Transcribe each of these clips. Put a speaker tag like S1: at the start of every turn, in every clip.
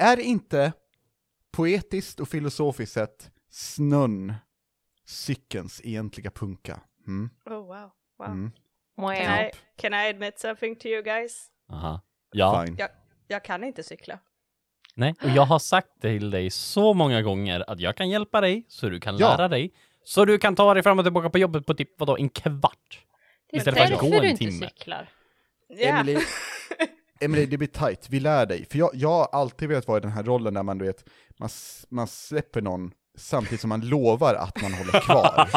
S1: Är inte, poetiskt och filosofiskt sett, snön cykelns egentliga punka? Mm.
S2: Oh wow. Wow.
S1: Mm.
S2: Can,
S3: Wow.
S2: I, can I admit something to you guys?
S4: Aha. Ja,
S1: Fine.
S2: Jag, jag kan inte cykla.
S4: nej. Och jag har sagt till dig så många gånger att jag kan hjälpa dig så du kan
S1: Ja.
S4: lära dig. Så du kan ta dig fram och tillbaka på jobbet på typ vadå, en kvart?
S3: Det är
S4: Istället för att gå
S3: därför du
S4: en
S3: inte
S4: timme.
S3: cyklar.
S2: Ja.
S1: Emily, Emily, det blir tight, vi lär dig. För jag, jag har alltid velat vara i den här rollen där man, du vet, man, s- man släpper någon samtidigt som man lovar att man håller kvar.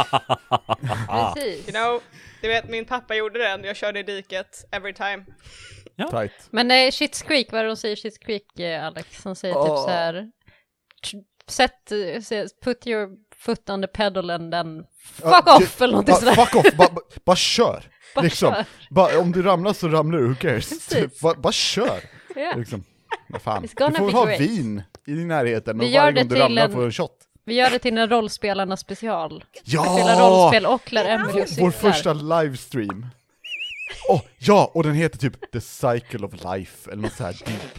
S1: Ah.
S3: Precis.
S2: You know, du vet min pappa gjorde den, jag körde i diket every time.
S1: tight.
S3: Men eh, Shit's Creek, vad är det de säger i Shit's Creek, eh, Alex? Som säger typ
S1: Ja.
S3: så här... t- Sätt, eh, se- put your foot on the pedal and then fuck
S1: Ja,
S3: off
S1: du-
S3: eller någonting
S1: ja,
S3: sådär.
S1: Fuck off, bara ba, bara kör!
S3: Bara
S1: liksom.
S3: kör.
S1: Bara, om du ramlar så ramlar du, who cares? Typ,
S3: Precis.
S1: Bara ba, kör!
S3: Ja.
S1: Liksom. Vad fan. Du
S3: It's gonna
S1: får väl
S3: be
S1: ha
S3: great.
S1: vin i din närheten
S3: Vi
S1: och
S3: gör
S1: varje
S3: det
S1: gång du
S3: till
S1: ramlar
S3: en-
S1: får du en shot.
S3: Vi gör det till en rollspelarna special. Spela
S1: Ja!
S3: rollspel och lär Emelie
S1: Vår,
S3: att
S1: vår
S3: cykla.
S1: första livestream. Oh, ja, och den heter typ The Cycle of Life, eller något så här deep.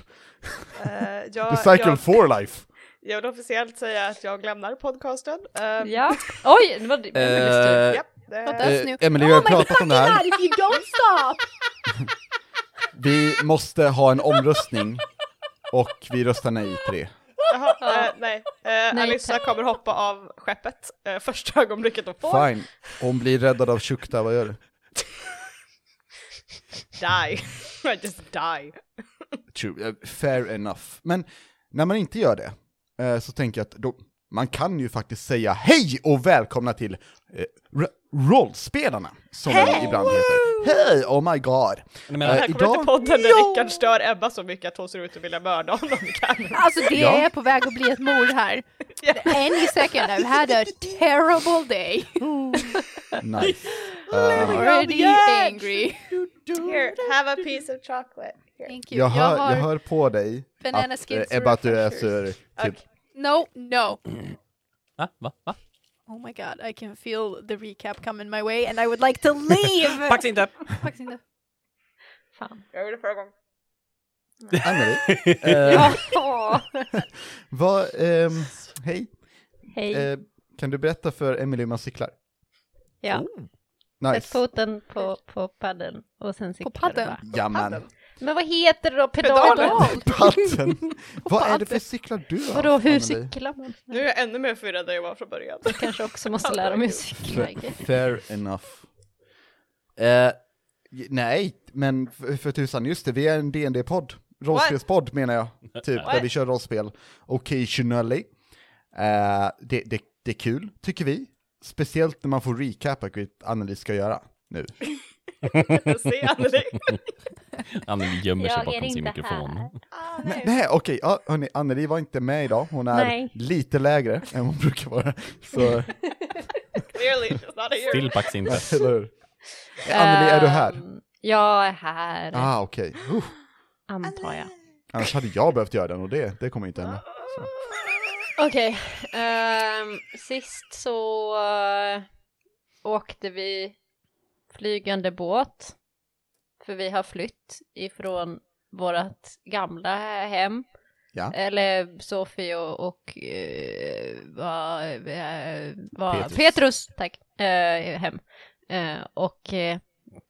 S2: Eh,
S1: The
S2: jag,
S1: Cycle
S2: jag,
S1: for Life.
S2: jag vill officiellt säga att jag lämnar podcasten. Eh,
S3: Ja. Oj, det var Emelies tur.
S2: japp, det-
S3: Vänta. Just nu.
S1: Eh, Emily, vi har pratat om det här.
S5: if you don't stop!
S1: Vi måste ha en omröstning, och vi röstar nej till det.
S2: jaha, eh, nej. Eh,
S3: Nej,
S2: Alissa
S3: tack.
S2: kommer hoppa av skeppet eh, första ögonblicket hon får.
S1: Fine. Hon blir räddad av Shukta, vad gör du?
S2: Die. I just die.
S1: True, eh, fair enough. Men när man inte gör det, eh, så tänker jag att då, man kan ju faktiskt säga hej och välkomna till eh, r- rollspelarna, som hey! ibland heter. Hej, oh my god!
S4: Jag menar,
S1: Eh,
S2: Här kommer inte podden där
S1: Ja!
S2: Rickard stör Ebba så mycket att hon ser ut att vilja mörda honom i kameran.
S5: Alltså det
S1: Ja.
S5: är på väg att bli ett mord här.
S2: Ja.
S5: Any second I've had a terrible day.
S1: Nice. Eh,
S5: Already
S2: edge.
S5: angry.
S2: Here, have a piece of chocolate. Here.
S5: Thank you.
S1: jag, hör, jag hör på dig
S5: Banana
S1: att, eh,
S5: skins
S1: Ebba, att du är sur.
S5: refreshers.
S1: Typ,
S5: No, no.
S4: Va? Va? Va?
S5: Oh my god, I can feel the recap coming my way and I would like to leave!
S4: Pax inte!
S5: Faktiskt inte.
S3: Fan.
S2: Jag gjorde förra gången.
S1: Emily,
S3: Ja. åh.
S1: Eh, vad, ehm, hej,
S3: Hej.
S1: Eh, kan du berätta för Emily hur man cyklar? Oh.
S3: Ja. Sätt
S1: Nice.
S3: foten på, på padden och sen cyklar du
S5: padden?
S3: bara.
S1: Jamen.
S3: Men vad heter det då?
S2: Pedalen.
S3: Pedalen?
S1: Patten. Vad är det för cyklar du har?
S3: Vadå, hur
S1: Emily?
S3: cyklar man?
S2: Nu är jag ännu mer förvirrad än jag var från början.
S3: Jag kanske också måste lära mig att cykla.
S1: F- Fair enough. Eh, j- nej, men f- för tusan, just det, vi är en dd podd Rollspelspodd menar jag, typ, där vi kör rollspel occasionally. Eh, det, det, det är kul, tycker vi. Speciellt när man får recapa, vilket Anneli ska göra nu.
S2: Se Anneli.
S4: Anneli gömmer sig
S3: Jag är
S4: bakom sin
S3: inte
S4: mikrofon.
S3: här.
S2: Ah,
S1: Nej, nej okej, ja, hörni, Anneli var inte med idag, hon är
S3: Nej.
S1: lite lägre än hon brukar vara. Så,
S2: Clearly, she's not here.
S4: Still Pax inte.
S1: eller hur? Anneli, är du här?
S3: Ehm, Jag är här,
S1: Ah, okej. Uh,
S3: antar jag.
S1: annars hade jag behövt göra den och det, det kommer inte hända.
S3: Okej, ehm, sist så eh, åkte vi flygande båt. För vi har flytt ifrån vårt gamla hem.
S1: Ja.
S3: Eller Sofie och, och eh, var, eh, var
S1: Petrus.
S3: Petrus. tack, eh, hem. Eh, och eh,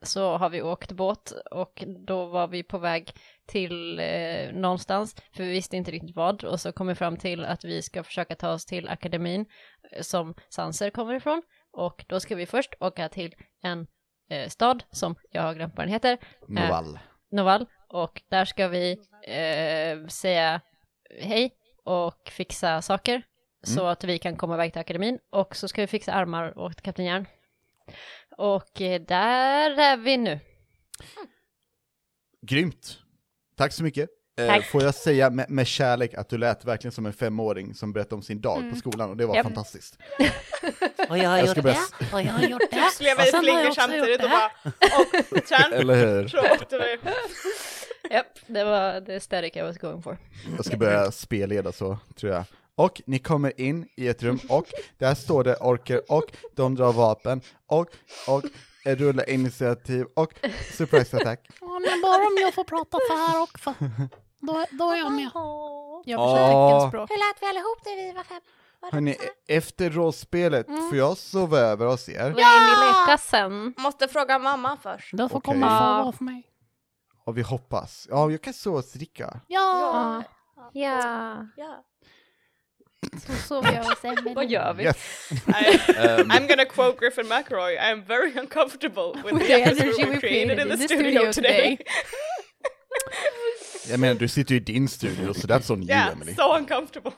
S3: så har vi åkt båt och då var vi på väg till eh, någonstans, för vi visste inte riktigt vad, och så kom vi fram till att vi ska försöka ta oss till akademin eh, som Sanser kommer ifrån, och då ska vi först åka till en eh, stad som jag har glömt vad den heter,
S1: Novall.
S3: Novall, och där ska vi eh, säga hej och fixa saker så att vi kan komma iväg till akademin och så ska vi fixa armar åt Kapten Järn. Och eh, där är vi nu.
S1: Grymt! Tack så mycket. Eh,
S3: Tack.
S1: Får jag säga med, med kärlek att du lät verkligen som en femåring som berättade om sin dag på skolan och det var
S3: Mm. Japp.
S1: fantastiskt.
S6: Och jag har jag
S1: Jag ska
S6: gjort det,
S1: börja s-
S6: och jag har gjort det.
S2: Du skulle jag vara
S7: Alltså,
S6: Och sen har jag också
S2: flinger
S6: gjort
S2: samtidigt
S6: det
S2: och
S6: här.
S2: bara och sen
S1: Eller hur?
S2: så åkte vi.
S3: Japp, det var the aesthetic I was going for.
S1: Jag ska börja spelleda så, tror jag. Och ni kommer in i ett rum och där står det orker och de drar vapen och, och eh, rulla initiativ och surprise attack.
S6: Ja, men bara om jag får prata så här också. Då, då är jag med.
S5: Jag
S1: Ja.
S5: försöker teckenspråk.
S6: Hur lät vi allihop när vi var fem? Var det
S1: Hörni,
S6: så här?
S1: efter rollspelet
S3: Mm.
S1: får jag sova över hos er?
S3: Vad vill ni leka sen?
S6: Måste fråga mamma först.
S4: Du får
S1: Okej.
S4: komma och
S3: Ja.
S4: sova för mig.
S1: Ja, vi hoppas. Ja, jag kan sova hos Ricka.
S5: Ja,
S3: Ja.
S6: Ja.
S5: så sov jag hos Emelie.
S3: Vad gör vi?
S1: Yes!
S2: I,
S1: Ehm,
S2: I'm gonna quote Griffin McElroy. I am very uncomfortable with,
S5: With
S2: the
S5: the
S2: atmosphere
S5: energy
S2: we
S5: we
S2: created in the, studio, today.
S5: today.
S1: jag menar, du sitter ju i din studio, så that's on you,
S2: yeah,
S1: Emily.
S2: so uncomfortable.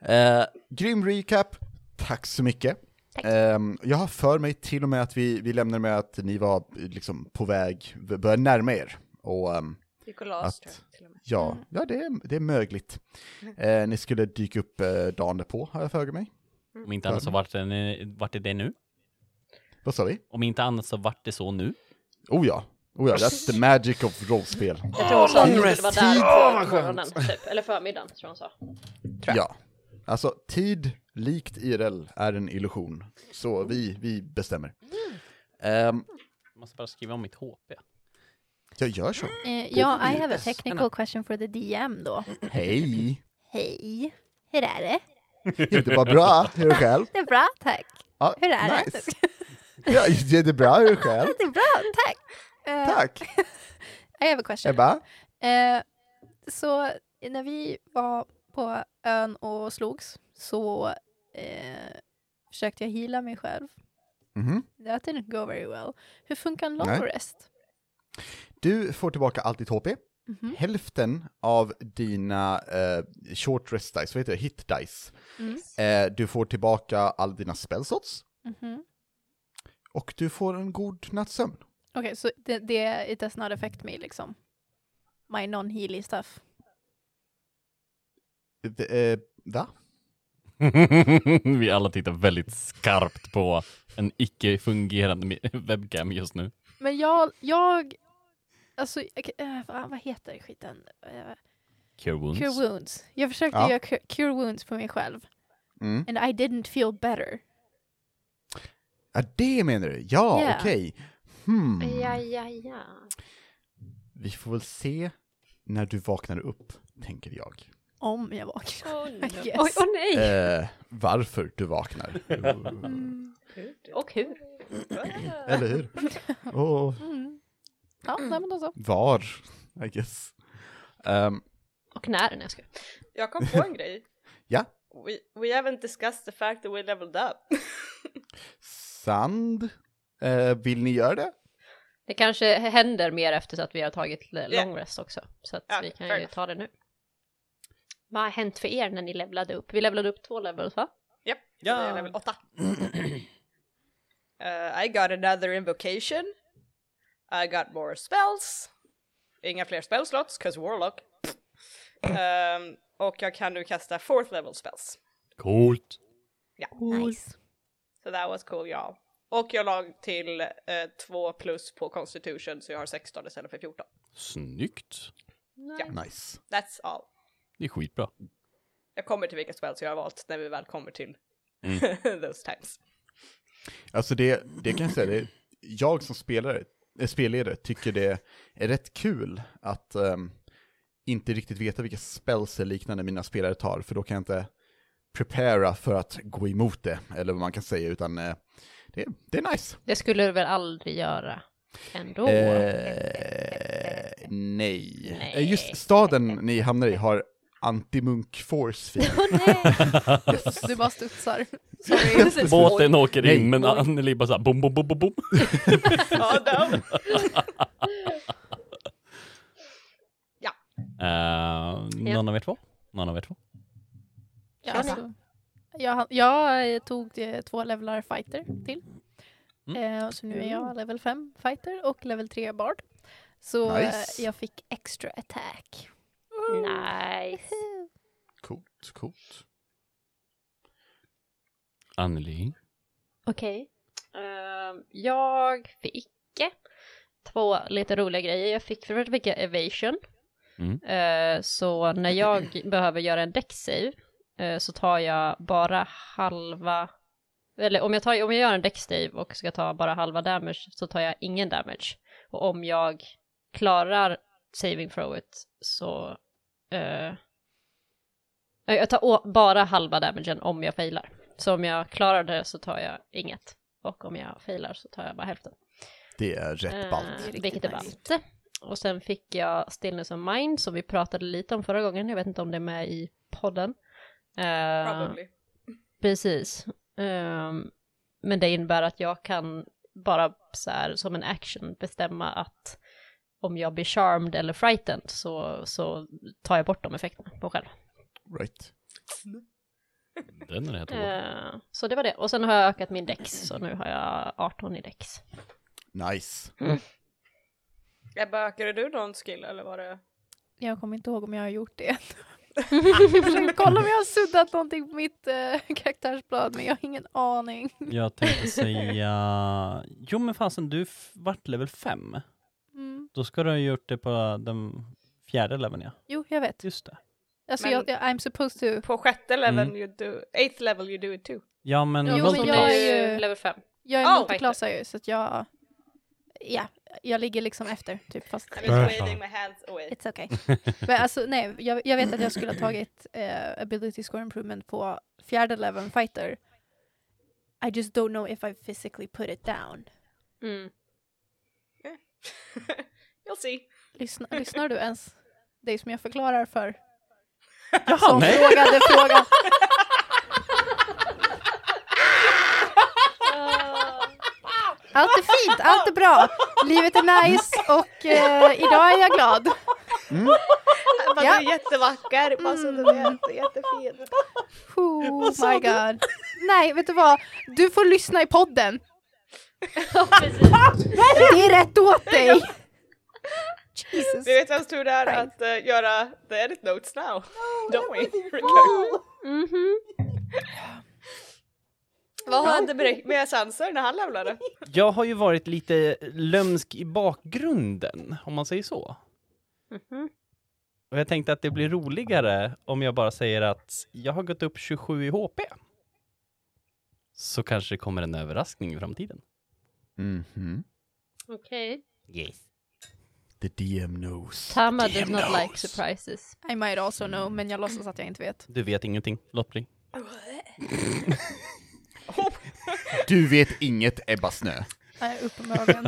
S1: Eh, grym recap, tack så mycket. Ehm, jag har för mig till och med att vi, vi lämnade med att ni var eh, liksom på väg, började närma er. Och ehm,
S6: Gick och la oss,
S1: Att-
S6: tror jag, till och med.
S1: ja, ja det, är, det är möjligt. Eh, ni skulle dyka upp eh, dagen därpå, har jag för mig.
S4: Om inte annat så vart det, nu- vart det det nu.
S1: Vad sa vi?
S4: Om inte annat så vart det så nu.
S1: Oh ja, oh ja, that's the magic of rollspel.
S3: Jag tror hon sa att vi skulle
S1: långrest
S3: vara
S1: tid.
S3: där
S1: Åh, vad
S3: på
S1: skönt.
S3: morgonen, typ. Eller förmiddagen, tror jag hon sa.
S1: Ja. Alltså, tid likt IRL är en illusion. Så vi, vi bestämmer. Ehm,
S4: Måste bara skriva om mitt HP.
S1: jag gör så.
S5: Eh, ja, I have a technical question for the DM då.
S1: Hej!
S5: Hej, hur är det?
S1: Det är bara bra, hur är det själv?
S5: Det är bra, tack.
S1: Ja,
S5: Hur är
S1: nice.
S5: det?
S1: Ja, det är bra, hur är det själv?
S5: Det är bra, tack. Eh,
S1: Tack!
S5: I have a question.
S1: Ebba?
S5: Eh, så när vi var på ön och slogs så eh, försökte jag heala mig själv.
S1: Mhm.
S5: That didn't go very well. Hur funkar en long
S1: Nej.
S5: rest?
S1: Du får tillbaka allt ditt HP.
S5: Mhm.
S1: Hälften av dina eh, short rest dice, vad heter det, hit dice.
S5: Mm.
S1: Eh, du får tillbaka all dina spellslots
S5: Mhm.
S1: och du får en god nattsömn.
S5: Okej, så det, det it does not affect me liksom? My non-healy stuff.
S1: Eh, eh, va?
S4: Vi alla tittar väldigt skarpt på en icke-fungerande mi- webcam just nu.
S5: Men jag, jag, alltså, okej, eh, fan, vad heter skiten? Eh,
S4: Cure wounds.
S5: cure wounds. Jag försökte
S1: Ja.
S5: göra cure, cure wounds på mig själv.
S1: Mm.
S5: And I didn't feel better.
S1: Ja, det menar du? Ja,
S5: Ja.
S1: okej. Hmm.
S3: Ja, ja, ja.
S1: Vi får väl se när du vaknar upp, tänker jag.
S5: Om jag vaknar.
S2: Oh, no.
S5: Yes.
S3: Oj, åh nej!
S1: Eh, varför du vaknar.
S3: Och hur?
S1: Eller hur? Och
S5: Mm. Ja, nej, men då så.
S1: var, I guess. Ehm,
S3: Och när? Nej, jag skojar.
S2: Jag kom på en grej.
S1: Ja.
S2: We, we haven't discussed the fact that we leveled up.
S1: sand. Eh, vill ni göra det?
S3: Det kanske händer mer efter så att vi har tagit l-
S2: Ja.
S3: long rest också. Så att
S2: Ja,
S3: vi kan
S2: fair
S3: ju
S2: enough.
S3: ta det nu. Vad har hänt för er när ni levlade upp? Vi levlade upp två levels va?
S2: Japp,
S4: Ja.
S2: det är level 8. I got another invocation. I got more spells. Inga fler spellslots, 'cause warlock. Ehm, och jag kan nu kasta fourth level spells.
S4: Coolt.
S5: Nice.
S2: So that was cool y'all. Och jag la till eh, två plus på constitution så jag har 16 istället för 14.
S4: Snyggt.
S1: Nice.
S2: That's all.
S4: Det är skitbra.
S2: Jag kommer till vilka spells jag har valt när vi väl kommer till those times.
S1: Alltså det, det kan jag säga, det, jag som spelare, eh, spelledare tycker det är rätt kul att ehm, inte riktigt veta vilka spells eller liknande mina spelare tar, för då kan jag inte prepara för att gå emot det, eller vad man kan säga, utan eh, det, det är nice.
S3: Det skulle du väl aldrig göra ändå?
S1: Eh, nej.
S3: Nej.
S1: Eh, Just staden ni hamnar i har anti-munk force field.
S5: Du bara studsar. Sorry.
S4: Båten åker
S1: Nej.
S4: in, men Anneli bara såhär bom, bom, bom, bom, bom.
S2: Ja, no.
S4: Eh, någon av er två? Någon av er två?
S5: Ja, alltså, jag, jag eh, tog eh, två levlar fighter till. Eh, så nu är jag level 5 fighter och level 3 bard. Så eh,
S1: Nice.
S5: jag fick extra attack.
S3: Nice.
S1: coolt, coolt.
S4: Anneli?
S3: Okej. Ehm, jag fick två lite roliga grejer. Jag fick för det första fick jag evasion.
S4: Mm.
S3: Eh, så när jag behöver göra en deck-save eh, så tar jag bara halva... Eller om jag, tar, om jag gör en deck-save och ska ta bara halva damage så tar jag ingen damage. Och om jag klarar saving throwet så... eh, jag tar å- bara halva damagen om jag failar. Så om jag klarar det så tar jag inget. Och om jag failar så tar jag bara hälften.
S1: Det är rätt
S3: Eh,
S1: ballt.
S5: riktigt
S3: vilket är
S5: nice.
S3: ballt. Och sen fick jag Stillness of Mind som vi pratade lite om förra gången. Jag vet inte om det är med i podden. Eh,
S2: Probably.
S3: Precis. Ehm, men det innebär att jag kan bara så här, som en action bestämma att om jag blir charmed eller frightened så, så tar jag bort de effekterna på mig själv.
S1: Right.
S4: Den är rätt
S5: Mm. Eh.
S4: hård.
S3: Ehm, så det var det. Och sen har jag ökat min dex så nu har jag 18 i dex.
S1: Nice.
S2: Ebba, ökade du någon skill eller var det?
S5: Jag kommer inte ihåg om jag har gjort det. jag försöker kolla om jag har suddat någonting på mitt eh, karaktärsblad men jag har ingen aning.
S4: Jag tänkte säga... Jo men fasen, du f- vart level 5.
S5: Mm.
S4: Då ska du ha gjort det på den fjärde leveln ja.
S5: Jo, jag vet.
S4: Just det.
S5: Alltså,
S2: Men-
S5: jag, jag, I'm supposed to.
S2: På sjätte level,
S4: Mm.
S2: you do, eighth level you do it too.
S4: Ja men...
S5: Jo,
S4: vad-
S5: men jag är ju-
S3: level 5.
S5: Jag
S2: Oh!
S5: är multiklassare ju, så att jag... Ja, jag ligger liksom efter, typ. Fast
S2: I'm
S4: Ja.
S2: just waving my hands away.
S5: It's okay. Men alltså nej, jag, jag vet att jag skulle ha tagit eh, ability score improvement på fjärde leveln fighter. I just don't know if I physically put it down.
S3: Mm.
S2: You'll see.
S5: Lyssna, lyssnar du ens? Det är som jag förklarar för.
S4: Jaha, nej!
S5: Frågade frågan.
S3: Ah,
S5: Allt är fint, allt är bra. Livet är nice och eh, idag är jag glad.
S2: Man
S5: Ja.
S2: är jättevacker, man är jätte, jättefin.
S5: Oh my god. Nej, vet du vad? Du får lyssna i podden. Det är rätt åt dig. Jesus.
S2: Vi vet vems tur det är
S5: Fine.
S2: att eh, göra the edit notes now. Don't we? Rickard?
S3: Mhm.
S2: Vad hände med, med Sanser när han levlade?
S8: Jag har ju varit lite lömsk i bakgrunden, om man säger så.
S3: Mhm.
S8: Och jag tänkte att det blir roligare om jag bara säger att jag har gått upp 27 i HP. Så kanske det kommer en överraskning i framtiden.
S1: Mhm.
S3: Okej.
S8: Yes.
S1: The DM knows.
S3: Tama
S1: The
S3: does
S1: DM
S3: not like
S1: knows.
S3: surprises.
S5: I might also know, men jag låtsas att jag inte vet.
S8: Du vet ingenting, låt bli.
S1: Du vet inget Ebba Snö.
S5: Nej, uppenbarligen.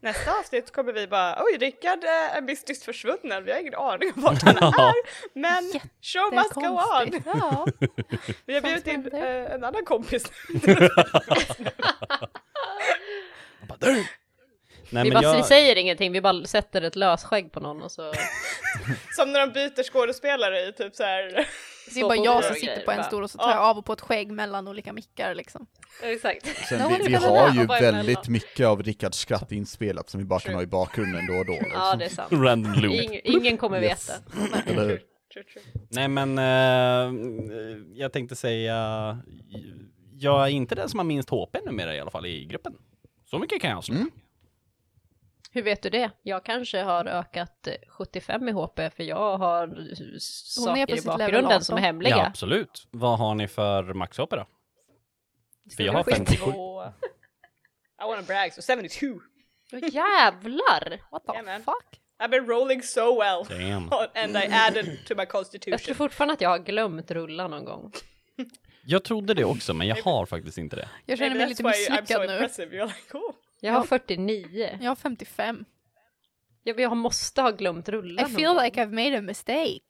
S2: Nästa avsnitt kommer vi bara, oj Rickard eh, är mystiskt försvunnen, vi har ingen aning om vart han är. Men show
S5: Det är
S2: must go on.
S5: konstigt. Ja.
S2: Vi har bjudit in
S5: Sånt händer.
S2: eh, en annan kompis.
S8: Jag bara, "Durr!" Nej,
S3: vi,
S8: men
S3: bara,
S8: jag,
S3: vi säger ingenting, vi bara sätter ett lösskägg på någon och så...
S2: Som när de byter skådespelare i typ så här.
S5: Det är bara jag som sitter på en stol och så tar jag
S2: Ja.
S5: av och på ett skägg mellan olika mickar liksom.
S3: Exakt.
S1: Sen,
S5: Ja,
S1: vi,
S5: det
S1: vi
S5: kan
S1: har
S3: det
S1: ju
S3: vara emellan.
S1: väldigt mycket av Rickards skratt inspelat som vi bara kan ha i bakgrunden då och då.
S3: Ja, det är sant.
S4: Random loop.
S3: Ing, ingen kommer
S1: Yes.
S3: veta.
S1: Eller hur?
S2: True, true.
S8: nej, men eh, jag tänkte säga, jag är inte den som har minst HP numera i alla fall i gruppen. Så mycket kan jag avslöja.
S3: Mm. Hur vet du det? Jag kanske har ökat eh, 75 i HP för jag har eh,
S5: är på
S3: saker i
S5: sitt level
S3: bakgrunden som är
S5: 18.
S3: hemliga.
S8: Ja, absolut. Vad har ni för maxhopp då? För jag har
S2: Skit
S8: 57.
S2: på- I wanna brag, so 72.
S3: Åh, jävlar!
S5: What the
S2: Jajamän.
S5: fuck?
S2: I've been rolling so well.
S8: Damn.
S2: And I added to my
S3: Jag tror
S2: constitution.
S3: fortfarande att jag har glömt rulla någon gång.
S8: Jag trodde det också, men jag har faktiskt inte det.
S5: Jag känner mig
S2: Maybe
S5: lite
S2: that's why I'm so
S5: misslyckad nu.
S2: impressive. You're like, oh.
S3: Jag har 49.
S5: Jag har 55.
S3: Jag, jag måste ha glömt rulla
S5: I
S3: någon
S5: feel
S3: gång.
S5: like I've made a mistake.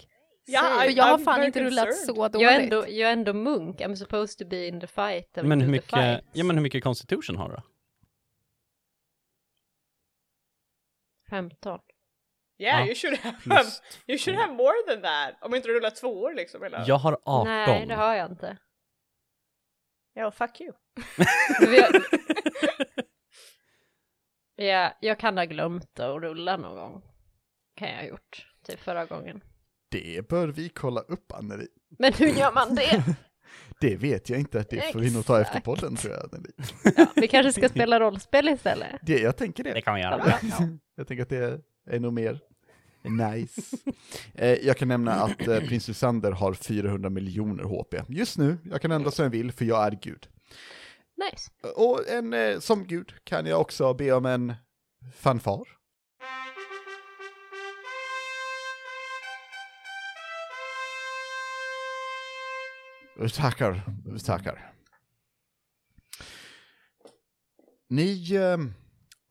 S2: Yeah,
S5: För
S2: I-
S5: jag har
S2: I'm
S5: fan
S2: very
S5: inte rullat
S2: concerned.
S5: så dåligt.
S3: jag, är ändå, jag är ändå munk, I'm supposed to be in the fight. I'm
S8: Men hur
S3: in the
S8: mycket,
S3: fight.
S8: ja, men hur mycket constitution har du då?
S3: 15.
S2: Yeah,
S8: Ja,
S2: you should have
S8: plus
S2: you should have more than that. Om inte du rullar två år liksom eller?
S8: Jag har 18.
S3: Nej, det har jag inte.
S2: Ja, fuck you.
S3: Men vi har- ja, jag kan ha glömt att rulla någon gång. Kan jag ha gjort. Typ förra gången.
S1: Det bör vi kolla upp, Anneli.
S3: Men hur gör man det?
S1: Det vet jag inte, det får vi nog ta efter
S3: Exakt.
S1: podden tror jag. Anneli.
S3: Ja, vi kanske ska spela rollspel istället.
S1: Det, jag tänker det.
S8: Det kan vi göra.
S1: Jag tänker att det är nog mer nice. Eh, jag kan nämna att eh, prins Lysander har 400 miljoner HP. Just nu, jag kan ändra som jag vill för jag är gud.
S3: Nice.
S1: Och en, eh, som gud kan jag också be om en fanfar. Tackar, tackar. Ni eh,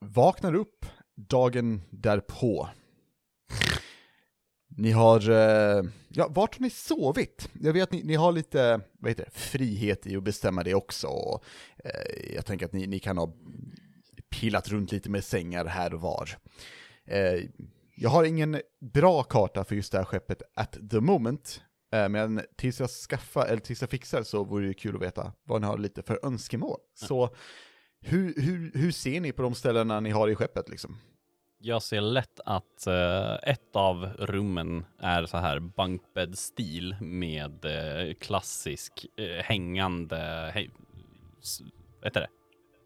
S1: vaknar upp dagen därpå. Ni har, eh, ja, vart har ni sovit? Jag vet att ni, ni har lite, vad heter det, frihet i att bestämma det också. Och, eh, jag tänker att ni, ni kan ha pillat runt lite med sängar här och var. Eh, jag har ingen bra karta för just det här skeppet at the moment, eh, men tills jag skaffar, eller tills jag fixar så vore det kul att veta vad ni har lite för önskemål. Så hur, hur, hur ser ni på de ställena ni har i skeppet liksom?
S8: Jag ser lätt att eh, ett av rummen är så här bankbäddstil med eh, klassisk eh, hängande, häng, s- vad heter det?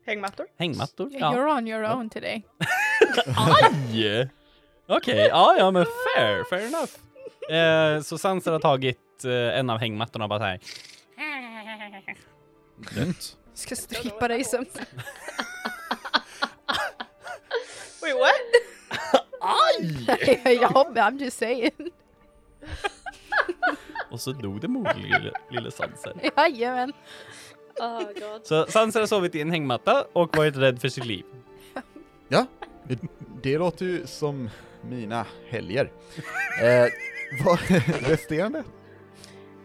S2: Hängmattor?
S8: Hängmattor?
S5: You're on your own today.
S8: Aj! Okej, ja, ja, men fair, fair enough. Eh, så Sanser har tagit eh, en av hängmattorna och bara så här. Dött.
S5: Ska strypa dig som...
S2: Wait what?
S5: ja, men I'm just saying.
S8: Och så dog det mot lille, lille Sanser.
S5: Jajamän.
S3: Oh, God.
S8: Så Sanser har sovit i en hängmatta och varit rädd för sitt liv.
S1: Ja, det låter ju som mina helger. Eh, vad, resterande?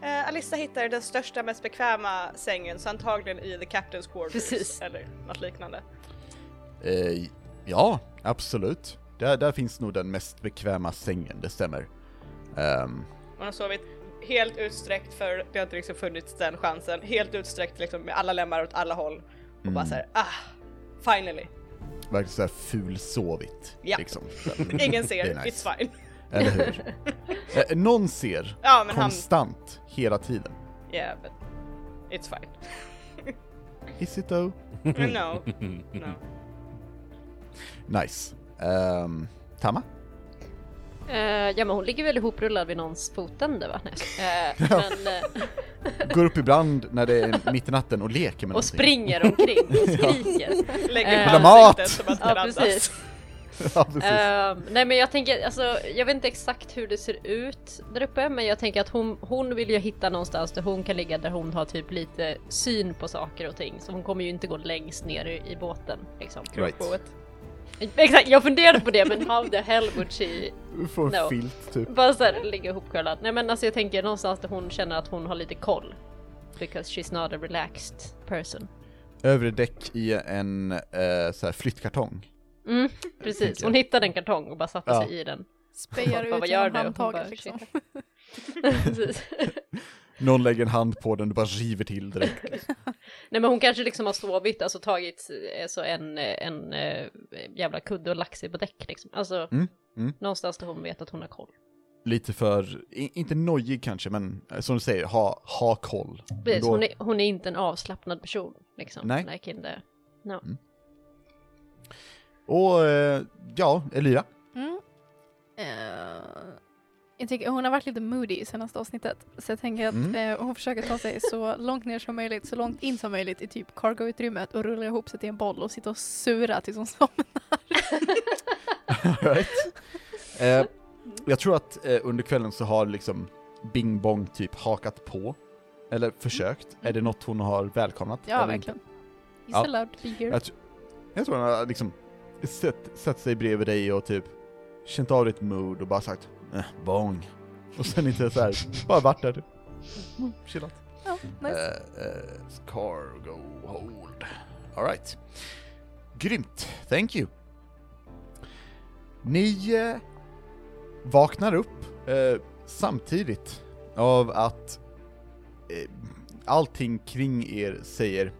S2: Eh, Alissa hittar den största, mest bekväma sängen, så antagligen i the captain's quarters
S3: Precis.
S2: eller något liknande.
S1: Eh, ja, absolut. Där, där finns nog den mest bekväma sängen, det stämmer. Ehm,
S2: Hon har sovit helt utsträckt för det har inte liksom funnits den chansen. Helt utsträckt liksom med alla lemmar åt alla håll. Och
S6: Mm.
S2: bara såhär ah, finally.
S1: verkligen såhär fulsovigt.
S2: Ja.
S1: Liksom.
S2: Ingen ser,
S1: Det är nice.
S2: it's fine.
S1: Eller hur? Eh, någon ser
S2: Ja men han,
S1: konstant hela tiden.
S2: yeah but it's fine.
S1: Is it though?
S2: no, no.
S1: Nice. Ehm, Tama?
S3: Eh, ja men hon ligger väl ihoprullad vid någons fotände va? Nej, eh, men, eh,
S1: Går upp ibland när det är mitt i natten och leker med någonting.
S3: och springer omkring och skriker.
S2: Lägger
S3: Eh,
S2: på
S1: Dramat!
S2: ansiktet som att
S3: Ja
S2: den andas.
S3: precis.
S1: ja, precis.
S3: Eh, nej men jag tänker, alltså, jag vet inte exakt hur det ser ut där uppe men jag tänker att hon, hon vill ju hitta någonstans där hon kan ligga där hon har typ lite syn på saker och ting så hon kommer ju inte gå längst ner i, i båten liksom.
S1: right.
S3: Exakt, jag funderade på det men how the hell would she
S1: Du får en
S3: No.
S1: filt typ.
S3: bara såhär ligga ihopkrullad? Nej men alltså jag tänker någonstans där hon känner att hon har lite koll. Because she's not a relaxed person.
S1: Övre däck i en eh, så här flyttkartong.
S3: Mm, precis,
S1: Tänker
S3: hon
S1: jag.
S3: hittade en kartong och bara satte
S1: Ja.
S3: sig i den.
S5: Spejar
S3: Vad- vad
S5: ut
S3: gör
S5: genom
S3: du? Hon bara,
S5: handtaget liksom.
S3: Precis.
S1: Någon lägger en hand på den och bara river till direkt.
S3: Nej men hon kanske liksom har sovit, alltså tagit eh, så en, eh, en eh, jävla kudde och lagt sig på däck liksom. Alltså
S1: Mm, mm.
S3: någonstans där hon vet att hon har koll.
S1: Lite för, i- inte nojig kanske, men eh, som du säger, ha, ha koll. Men
S3: Precis,
S1: då-
S3: hon, är, hon är inte en avslappnad person liksom.
S1: Nej.
S3: Like in the...
S1: Och eh, ja, Elira.
S5: Mm. Eh, jag tänker, hon har varit lite moody i senaste avsnittet. Så jag tänker att
S1: Mm.
S5: eh, hon försöker ta sig så långt ner som möjligt, så långt in som möjligt i typ cargoutrymmet och rulla ihop sig till en boll och sitta och sura tills hon somnar.
S1: right. eh, jag tror att eh, under kvällen så har liksom Bing Bong typ hakat på. Eller försökt. Är det något hon har välkomnat?
S5: Mm. Ja,
S1: eller inte?
S5: verkligen. He's
S1: Ja.
S5: allowed to be here.
S1: Jag, tr- jag tror han har liksom sett, satt sig bredvid dig och typ känt av ditt mood och bara sagt eh, bong. Och sen inte så här, bara varit där typ. Mm, Chillat.
S5: Ja, nice.
S1: Eh, eh, cargo hold. Alright. Grymt, thank you. Ni eh, vaknar upp eh, samtidigt av att eh, allting kring er säger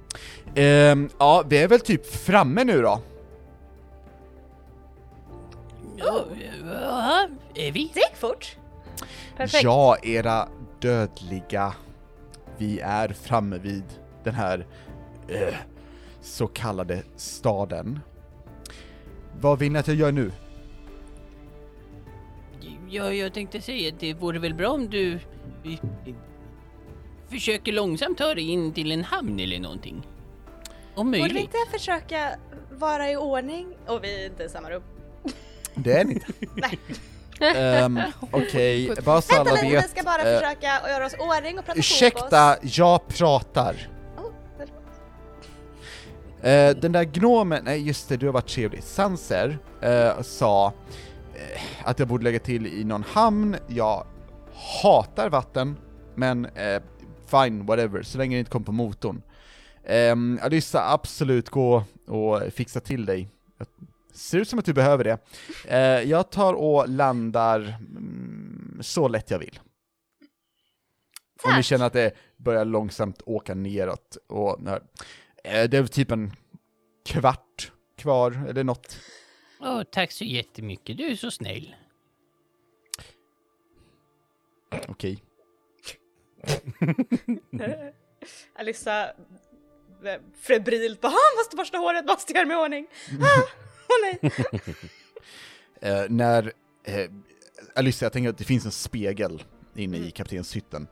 S1: ehm, ja, vi är väl typ framme nu då.
S8: Är vi?
S2: Det gick fort.
S3: Perfekt.
S1: Ja, era dödliga. Vi är framme vid den här eh, så kallade staden. Vad vill ni att jag gör nu?
S7: Ja, jag tänkte säga att det vore väl bra om du eh, eh, försöker långsamt ta dig in till en hamn eller någonting. Om
S6: Borde vi
S7: möjligt.
S6: inte försöka vara i ordning?
S2: Och vi är inte i samma rum.
S1: Det är ni inte.
S2: Nej.
S1: Ehm, Okej, bara så alla
S6: Vänta lite, vi
S1: vet.
S6: ska bara
S1: eh,
S6: försöka att göra oss ordning och prata
S1: Ursäkta,
S6: fotboll.
S1: jag pratar. Eh, den där gnomen, nej just det, du har varit trevlig. Sanser eh, sa eh, att jag borde lägga till i någon hamn. Jag hatar vatten, men eh, fine, whatever, så länge det inte kommer på motorn. Ehm, Alyssa, absolut gå och fixa till dig. Jag ser ut som att du behöver det. Eh, jag tar och landar mm, så lätt jag vill. Om ni
S6: Tack.
S1: känner att det börjar långsamt åka neråt och när, eh, det är typ en kvart kvar eller något.
S7: Åh, tack så jättemycket, du är så snäll.
S1: Okej.
S2: Alissa eh, febrilt bara "Ah, måste borsta håret, måste göra mig i ordning. Ah, åh nej.
S1: Eh, när, eh, Alicia jag tänker att det finns en spegel inne i kaptenshytten.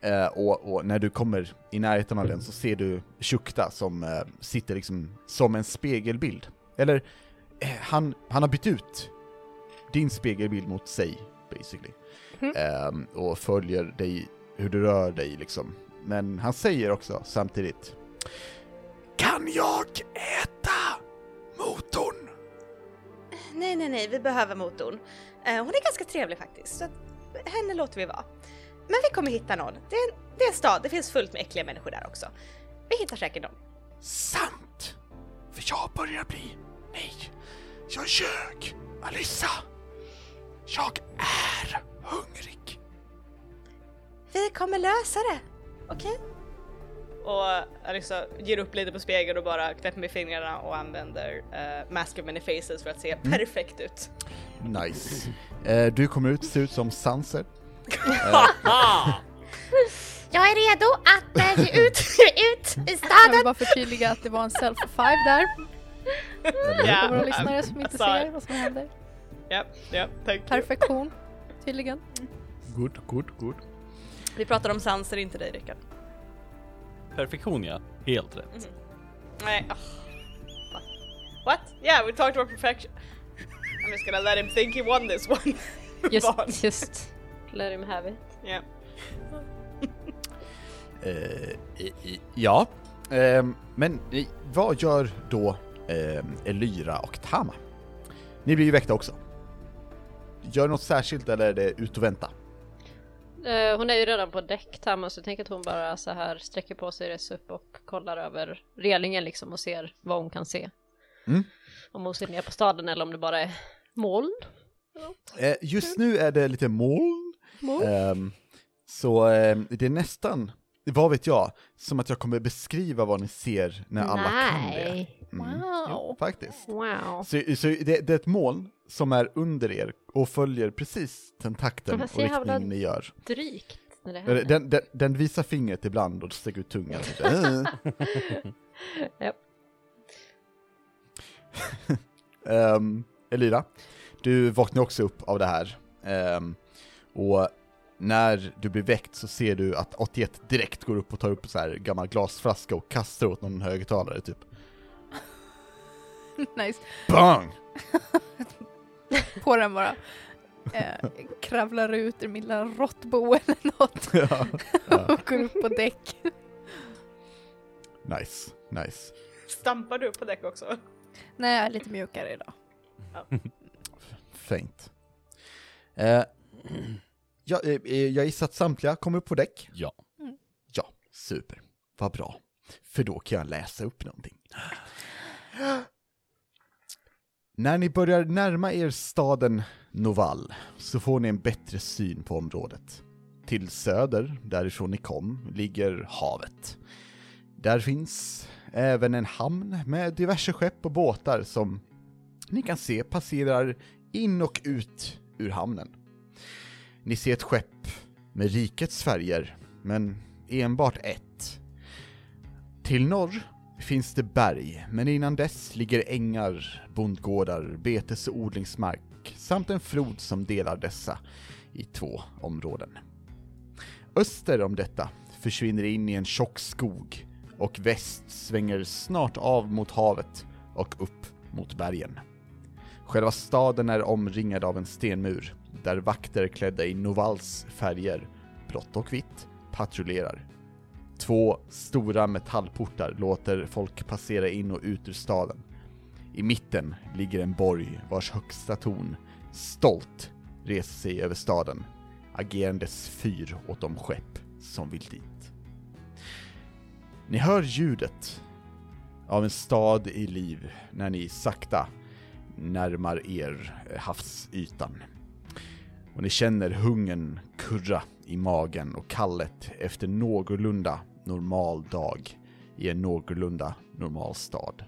S1: Eh, och, och när du kommer i närheten av den så ser du Shukta som eh, sitter liksom som en spegelbild. Eller, eh, han, han har bytt ut din spegelbild mot sig, basically. Eh, och följer dig, hur du rör dig liksom. Men han säger också samtidigt Kan jag äta motorn?
S6: Nej, nej, nej, vi behöver motorn. Eh, Hon är ganska trevlig faktiskt, så att henne låter vi vara. Men vi kommer hitta någon. Det är, en, det är en stad, det finns fullt med äckliga människor där också. Vi hittar säkert någon.
S1: Sant! För jag börjar bli... Nej! Jag ljög! Alissa! Jag är hungrig!
S6: Vi kommer lösa det! Okej?
S2: Och Alissa ger upp lite på spegeln och bara knäpper med fingrarna och använder uh, Mask of Many Faces för att se perfekt ut.
S1: Nice. Eh, du kommer ut, ser ut som Sanser.
S6: Jag är redo att eh, ge ut, ut i
S5: Jag vill
S6: staden!
S5: bara förtydliga att det var en self five där.
S2: Ja,
S5: För våra lyssnare som inte
S2: jag sa det.
S5: ser vad som händer.
S2: ja, ja, tack.
S5: Perfektion, tydligen.
S1: Good, good, good.
S2: Vi pratar om sanser, inte dig Rickard.
S8: Perfektion ja, helt rätt.
S2: Nej, ah, fuck. What? Yeah, we talked about perfection. I'm just gonna let him think he won this one. Barn.
S3: Just, just. Let him have it.
S2: Ja.
S1: Eh, i- i- ja. Ehm, men eh, vad gör då ehm, Elyra och Tama? Ni blir ju väckta också. Gör något särskilt eller är det ut och vänta?
S3: Eh, hon är ju redan på däck Tamma så jag tänker att hon bara så här sträcker på sig, reser upp och kollar över relingen liksom och ser vad hon kan se.
S1: Mm.
S3: Om hon ser ner på staden eller om det bara är moln.
S1: Eh, just nu är det lite moln. Ehm, så ehm, det är nästan, vad vet jag, som att jag kommer beskriva vad ni ser när alla kan det.
S3: Nej,
S1: Mm.
S5: Wow.
S1: Jo, faktiskt.
S3: wow.
S1: Så, så det, det är ett moln som är under er och följer precis den takten
S3: Men
S1: och
S3: så jävla-
S1: riktningen ni gör.
S3: Drygt när det händer.
S1: Eller, Den, den, den visar fingret ibland och sticker ut tungan. Så, eh.
S3: Japp.
S1: Ehm, Elira, du vaknar också upp av det här. Ehm, och när du blir väckt så ser du att 81 direkt går upp och tar upp en så här gammal glasflaska och kastar åt någon högtalare typ.
S5: Nice.
S1: Bang!
S5: På den bara. Eh, kravlar ut ur min lilla råttbo eller något
S1: Ja.
S5: och går upp på däck.
S1: nice, nice.
S2: Stampar du på däck också?
S5: Nej, jag är lite mjukare idag.
S1: Fint. Eh, jag, eh, eh, jag gissar att samtliga kommer upp på däck?
S8: Ja.
S5: Mm.
S1: Ja, super. Vad bra. För då kan jag läsa upp någonting. När ni börjar närma er staden Noval så får ni en bättre syn på området. Till söder, därifrån ni kom, ligger havet. Där finns även en hamn med diverse skepp och båtar som ni kan se passerar in och ut ur hamnen. Ni ser ett skepp med rikets färger, men enbart ett. Till norr finns det berg, men innan dess ligger ängar, bondgårdar, betes och odlingsmark samt en flod som delar dessa i två områden. Öster om detta försvinner in i en tjock skog och väst svänger snart av mot havet och upp mot bergen. Själva staden är omringad av en stenmur, där vakter klädda i Novals färger, blått och vitt, patrullerar. Två stora metallportar låter folk passera in och ut ur staden. I mitten ligger en borg vars högsta torn stolt reser sig över staden, agerandes fyr åt de skepp som vill dit. Ni hör ljudet av en stad i liv när ni sakta närmar er eh, havsytan. Och ni känner hungern kurra i magen och kallet efter någorlunda normal dag i en någorlunda normal stad.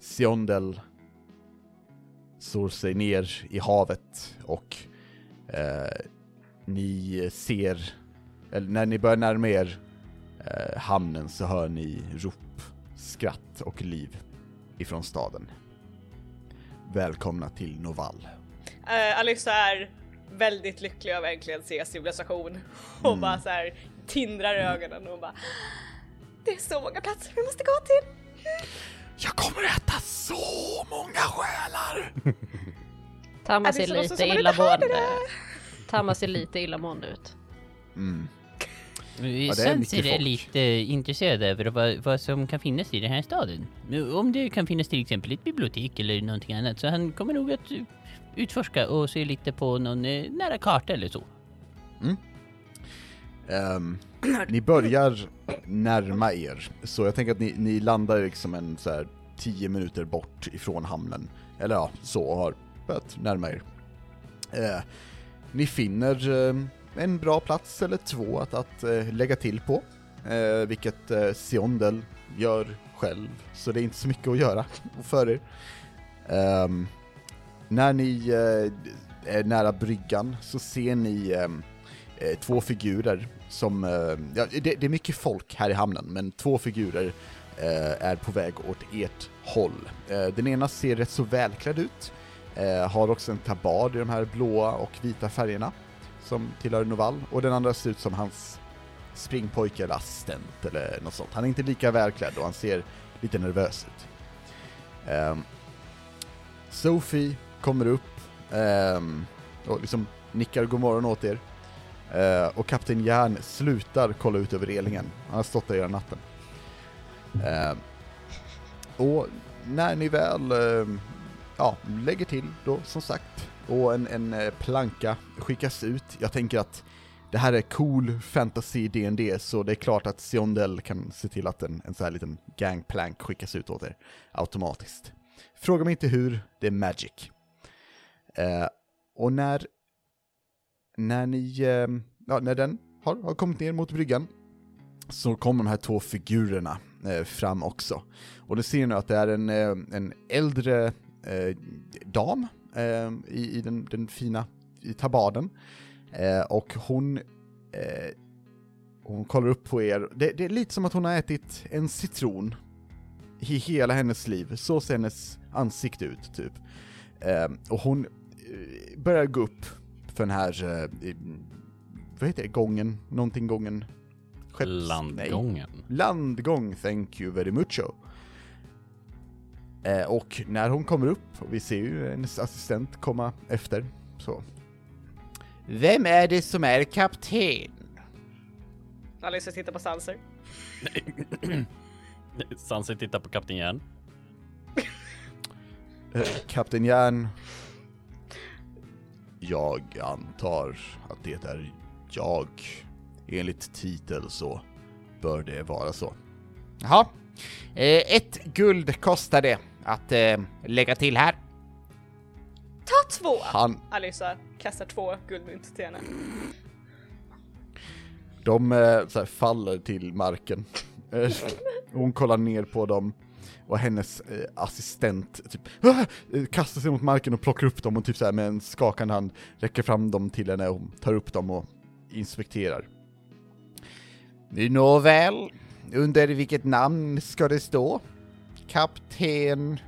S1: Siondel slår sig ner i havet och eh, ni ser, eller när ni börjar närma er eh, hamnen så hör ni rop, skratt och liv ifrån staden. Välkomna till Noval.
S2: Eh, Alyssa är väldigt lycklig över att äntligen se civilisation och bara så här tindrar i ögonen och bara
S6: Det är så många platser vi måste gå till.
S1: Jag kommer äta så många själar!
S3: Tammas
S6: det
S3: är
S6: så låtsas
S3: lite
S6: som man inte hörde
S3: illamående. Tammas ser lite illamående ut.
S1: Mm.
S7: Vi
S1: Ja, det är
S7: Sen
S1: mycket
S7: ser det
S1: folk.
S7: lite intresserade över vad, vad som kan finnas i den här staden. Om det kan finnas till exempel ett bibliotek eller någonting annat. Så han kommer nog att eh, utforska och se lite på någon eh, nära karta eller så.
S1: Ehm, ni börjar närma er, så jag tänker att ni, ni landar liksom en så här 10 minuter bort ifrån hamnen. Eller ja, så och har börjat närma er. Eh, ni finner eh, en bra plats eller två att, att eh, lägga till på, eh, vilket eh, Siondel gör själv, så det är inte så mycket att göra för er. Ehm, när ni eh, är nära bryggan så ser ni ehm, eh, två figurer som, eh, ja, det, det är mycket folk här i hamnen, men två figurer eh, är på väg åt ert håll. Eh, den ena ser rätt så välklädd ut, eh, har också en tabard i de här blåa och vita färgerna som tillhör Novall, och den andra ser ut som hans springpojke eller assistent eller något sånt. Han är inte lika välklädd och han ser lite nervös ut. Ehm, Sophie kommer upp ehm, och liksom nickar god morgon åt er. Eh, och Kapten Järn slutar kolla ut över relingen. Han har stått där hela natten. Eh, och när ni väl eh, ja, lägger till då, som sagt, och en, en eh, planka skickas ut. Jag tänker att det här är cool fantasy D&D så det är klart att Siondel kan se till att en, en sån här liten gangplank skickas ut åt er automatiskt. Fråga mig inte hur, det är magic. Eh, och när när ni, eh, ja, när den har, har kommit ner mot bryggan så kommer de här två figurerna eh, fram också. Och då ser ni att det är en, eh, en äldre eh, dam eh, i, i den, den fina i tabaden. Eh, och hon, eh, hon kollar upp på er. Det, det är lite som att hon har ätit en citron i hela hennes liv. Så ser hennes ansikte ut, typ. Eh, och hon eh, börjar gå upp för den här, eh, eh, vad heter det, gången, någonting gången? Skepps-
S4: Landgången.
S1: Nej. Landgång, thank you very mucho. Eh, och när hon kommer upp, och vi ser ju hennes assistent komma efter, så. Vem är det som är kapten?
S2: Alyssa tittar på Sanser.
S4: Sansi tittar på Kapten Järn.
S1: Eh, kapten Järn. Jag antar att det är jag. Enligt titel så bör det vara så. Jaha. Eh, ett guld kostar det att eh, lägga till här.
S2: Ta två!
S1: Han
S2: Alyssa kastar två guldmynt till henne.
S1: De eh, så här, faller till marken. Eh, Hon kollar ner på dem och hennes eh, assistent typ "Ah!" eh, kastar sig mot marken och plockar upp dem och typ så här med en skakande hand räcker fram dem till henne och hon tar upp dem och inspekterar. Nåväl, under vilket namn ska det stå? Kapten...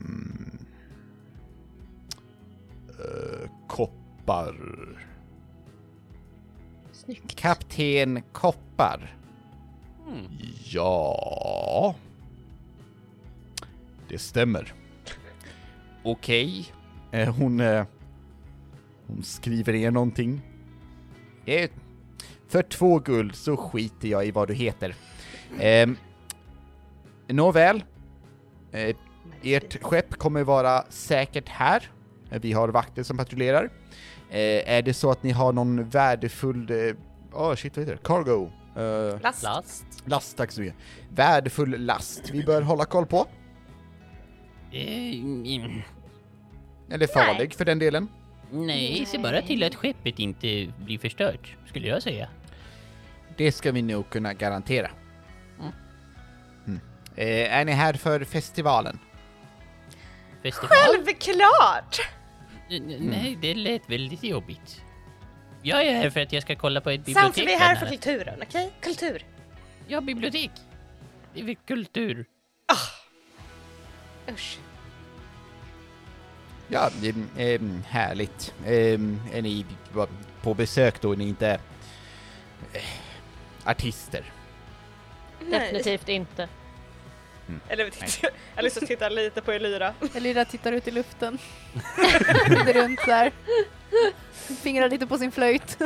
S1: Mm. Eh, koppar...
S3: Snyggt.
S1: Kapten Koppar. Ja. Det stämmer. Okej. Eh, hon, eh, hon skriver ner någonting. Eh, för två guld så skiter jag i vad du heter. Eh, nåväl. Eh, ert skepp kommer vara säkert här. Eh, Vi har vakter som patrullerar. Eh, är det så att ni har någon värdefull... eh, Åh shit, vad heter det? Cargo? Eh,
S6: Last.
S7: Last.
S1: last, tack så mycket. Värdefull last vi bör hålla koll på.
S7: Eh, mm,
S1: Eller farlig för den delen.
S7: nej, se bara till att skeppet inte blir förstört, skulle jag säga.
S1: Det ska vi nog kunna garantera. Mm. Eh, är ni här för festivalen?
S7: Festival?
S6: Självklart!
S7: N-
S8: Mm.
S7: n- Nej, det lät väldigt jobbigt. Jag är här för att jag ska kolla på ett bibliotek.
S6: Samtidigt, vi är här för
S7: bland annat.
S6: kulturen, okej? Kultur.
S7: Ja, bibliotek. Det är väl kultur.
S6: Usch.
S1: Ja, ehm, ehm, härligt. Ehm, är ni va- på besök då? Är ni inte eh, artister?
S3: Definitivt inte.
S2: Eller vi tittar- Alice tittar lite på Elyra.
S5: Elira tittar ut i luften. Tittar runt där. Fingrar lite på sin flöjt.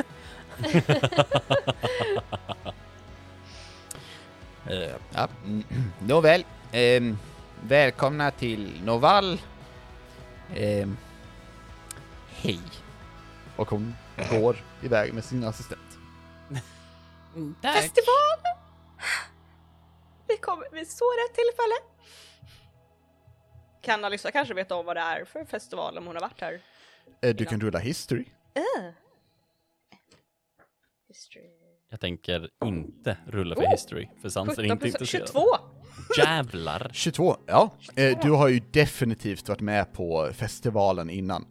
S1: Eh, ja. mm, Nåväl. Ehm, välkomna till Novall. Ehm, hej. Och hon går iväg med sin assistent.
S7: Mm, Tack.
S6: Festival! Vi kommer vid så rätt tillfälle.
S2: Kan Alyssa kanske veta om vad det är för festival om hon har varit här?
S1: Eh, du kan rulla history.
S8: Jag tänker inte rulla för history, för Sanser
S2: 17
S8: är inte
S2: plus
S8: intresserad.
S2: 22!
S8: Jävlar!
S1: 22, ja. Eh, du har ju definitivt varit med på festivalen innan.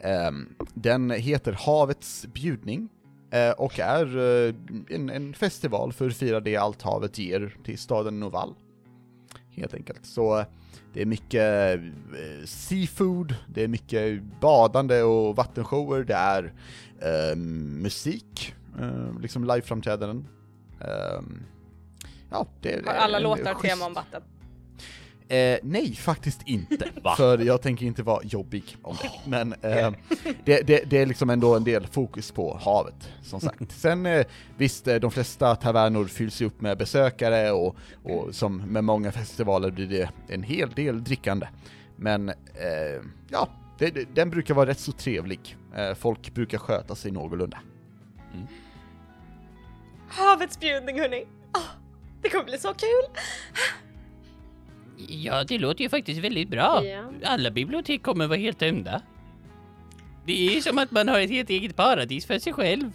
S1: Ehm, den heter Havets bjudning eh, och är eh, en, en festival för att fira det allt havet ger till staden Novall. Helt enkelt. Så eh, det är mycket eh, seafood, det är mycket badande och vattenshower, det är eh, musik, eh, liksom liveframträdanden. Ehm, ja, det är
S2: Har alla
S1: en
S2: låtar
S1: schysst-
S2: tema om vatten?
S1: Eh, nej, faktiskt inte.
S8: Va?
S1: För jag tänker inte vara jobbig om det. Men eh, det, det, det är liksom ändå en del fokus på havet, som sagt. Sen eh, visst, eh, de flesta tavernor fylls ju upp med besökare och, och som med många festivaler blir det en hel del drickande. Men eh, ja, det, det, den brukar vara rätt så trevlig. Eh, folk brukar sköta sig någorlunda.
S6: Havets bjudning hörni. Åh, det kommer bli så kul!
S7: Ja, det låter ju faktiskt väldigt bra.
S3: Ja.
S7: Alla bibliotek kommer vara helt tömda. Det är som att man har ett helt eget paradis för sig själv.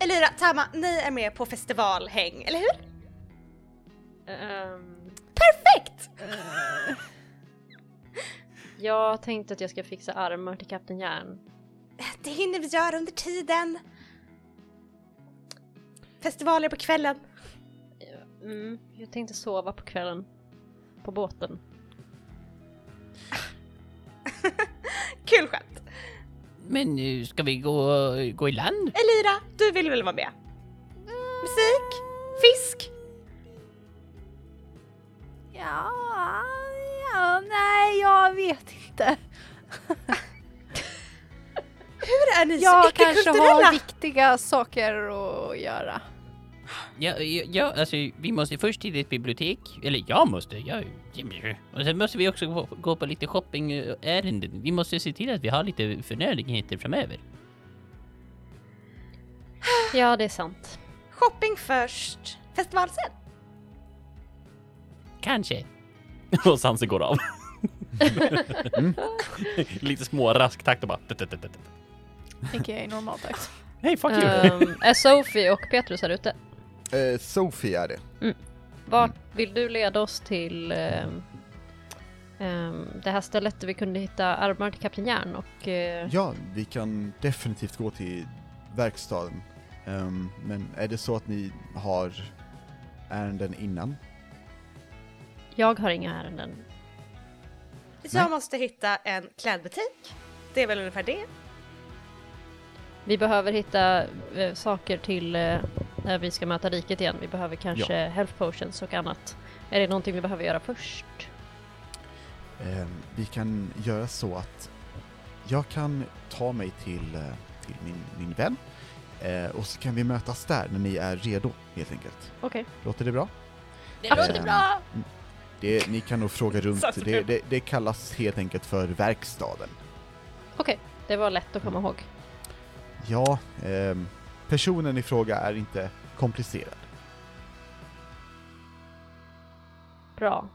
S6: Elira, Tama, ni är med på festivalhäng, eller hur?
S3: Ehm,
S6: Perfekt!
S3: jag tänkte att jag ska fixa armar till Kapten Järn.
S6: Det hinner vi göra under tiden. Festivaler på kvällen.
S3: Mm, jag tänkte sova på kvällen. På båten.
S6: Kul skämt!
S7: Men nu ska vi gå, gå i land?
S6: Elira, du vill väl vara med? Musik? Fisk?
S5: Ja, ja, nej, jag vet inte.
S6: Hur är ni så
S5: Jag kanske
S6: icke-kulturella?
S5: har viktiga saker att göra.
S7: Ja, ja, ja, alltså vi måste först till ett bibliotek. Eller jag måste, jag... Och sen måste vi också gå, gå på lite shoppingärenden. Vi måste se till att vi har lite förnödenheter framöver.
S3: Ja, det är sant.
S6: Shopping först, festival sen.
S7: Kanske.
S8: Och Sanser går av.
S1: Mm.
S8: Lite små rask takt och bara... tut, tut, tut, tut.
S5: Tänker jag i normaltakt.
S8: Hej, fuck you!
S3: Ehm, är Sophie och Petrus här ute?
S1: Eh, Sofie är det.
S3: Vart vill du leda oss till ehm, ehm, det här stället där vi kunde hitta armar till Kapten Järn och... eh,
S1: Ja, vi kan definitivt gå till verkstaden. Ehm, men är det så att ni har ärenden innan?
S3: jag har inga ärenden.
S6: Jag måste hitta en klädbutik. Det är väl ungefär det.
S3: Vi behöver hitta eh, saker till eh, när vi ska möta riket igen. Vi behöver kanske health potions och annat. Är det någonting vi behöver göra först?
S1: Ehm, vi kan göra så att jag kan ta mig till, eh, till min, min vän eh, och så kan vi mötas där när ni är redo helt enkelt.
S3: Okej.
S1: Låter det bra?
S6: Det
S1: Eh,
S6: låter bra!
S1: Det, ni kan nog fråga runt,
S2: Satt
S1: det, det, det kallas helt enkelt för verkstaden.
S3: Okej, det var lätt att komma ihåg.
S1: Ja, ehm, personen i fråga är inte komplicerad.
S3: Bra.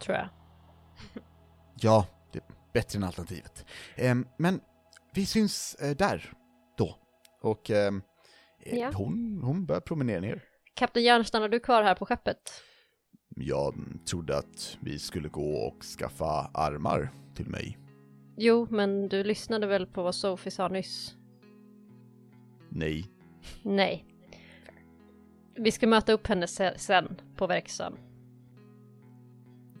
S3: Tror jag.
S1: Ja, det är bättre än alternativet. Ehm, men vi syns eh, där, då. Och ehm, eh,
S3: Ja.
S1: hon, hon börjar promenera ner.
S3: Kapten Järn, stannar du kvar här på skeppet?
S1: Jag trodde att vi skulle gå och skaffa armar till mig.
S3: Jo, men du lyssnade väl på vad Sophie sa nyss?
S1: Nej.
S3: Nej. Vi ska möta upp henne se- sen på verkstaden.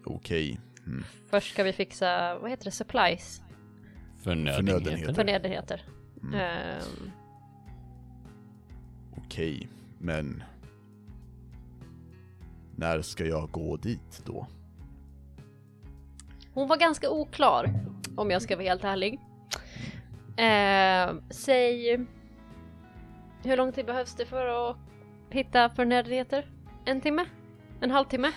S1: Okej.
S3: Först ska vi fixa, vad heter det, supplies?
S1: Förnödenheter.
S3: Förnödenheter.
S1: Mm.
S3: Ehm,
S1: Okej, men... När ska jag gå dit då?
S3: hon var ganska oklar, om jag ska vara helt ärlig. Ehm, säg, hur lång tid behövs det för att hitta förnödenheter? En timme? En halvtimme?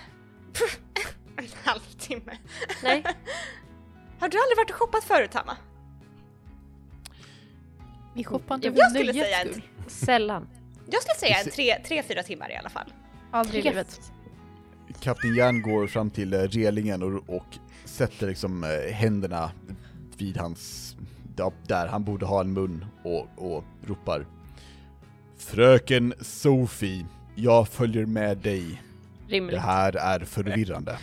S6: En halvtimme.
S3: Nej?
S6: Har du aldrig varit och shoppat förut, Hanna?
S5: Vi shoppar inte
S3: Jag
S5: för
S6: skulle
S5: nöjets
S6: säga
S5: skull.
S3: Sällan.
S6: Jag skulle säga en
S1: Precis.
S6: tre, tre, fyra timmar i alla fall.
S5: Aldrig i livet.
S1: Kapten Järn går fram till eh, relingen och, och sätter liksom eh, händerna vid hans... ja, Där han borde ha en mun och, och ropar. Fröken Sophie, jag följer med dig. Det
S3: Rimligt.
S1: här är förvirrande.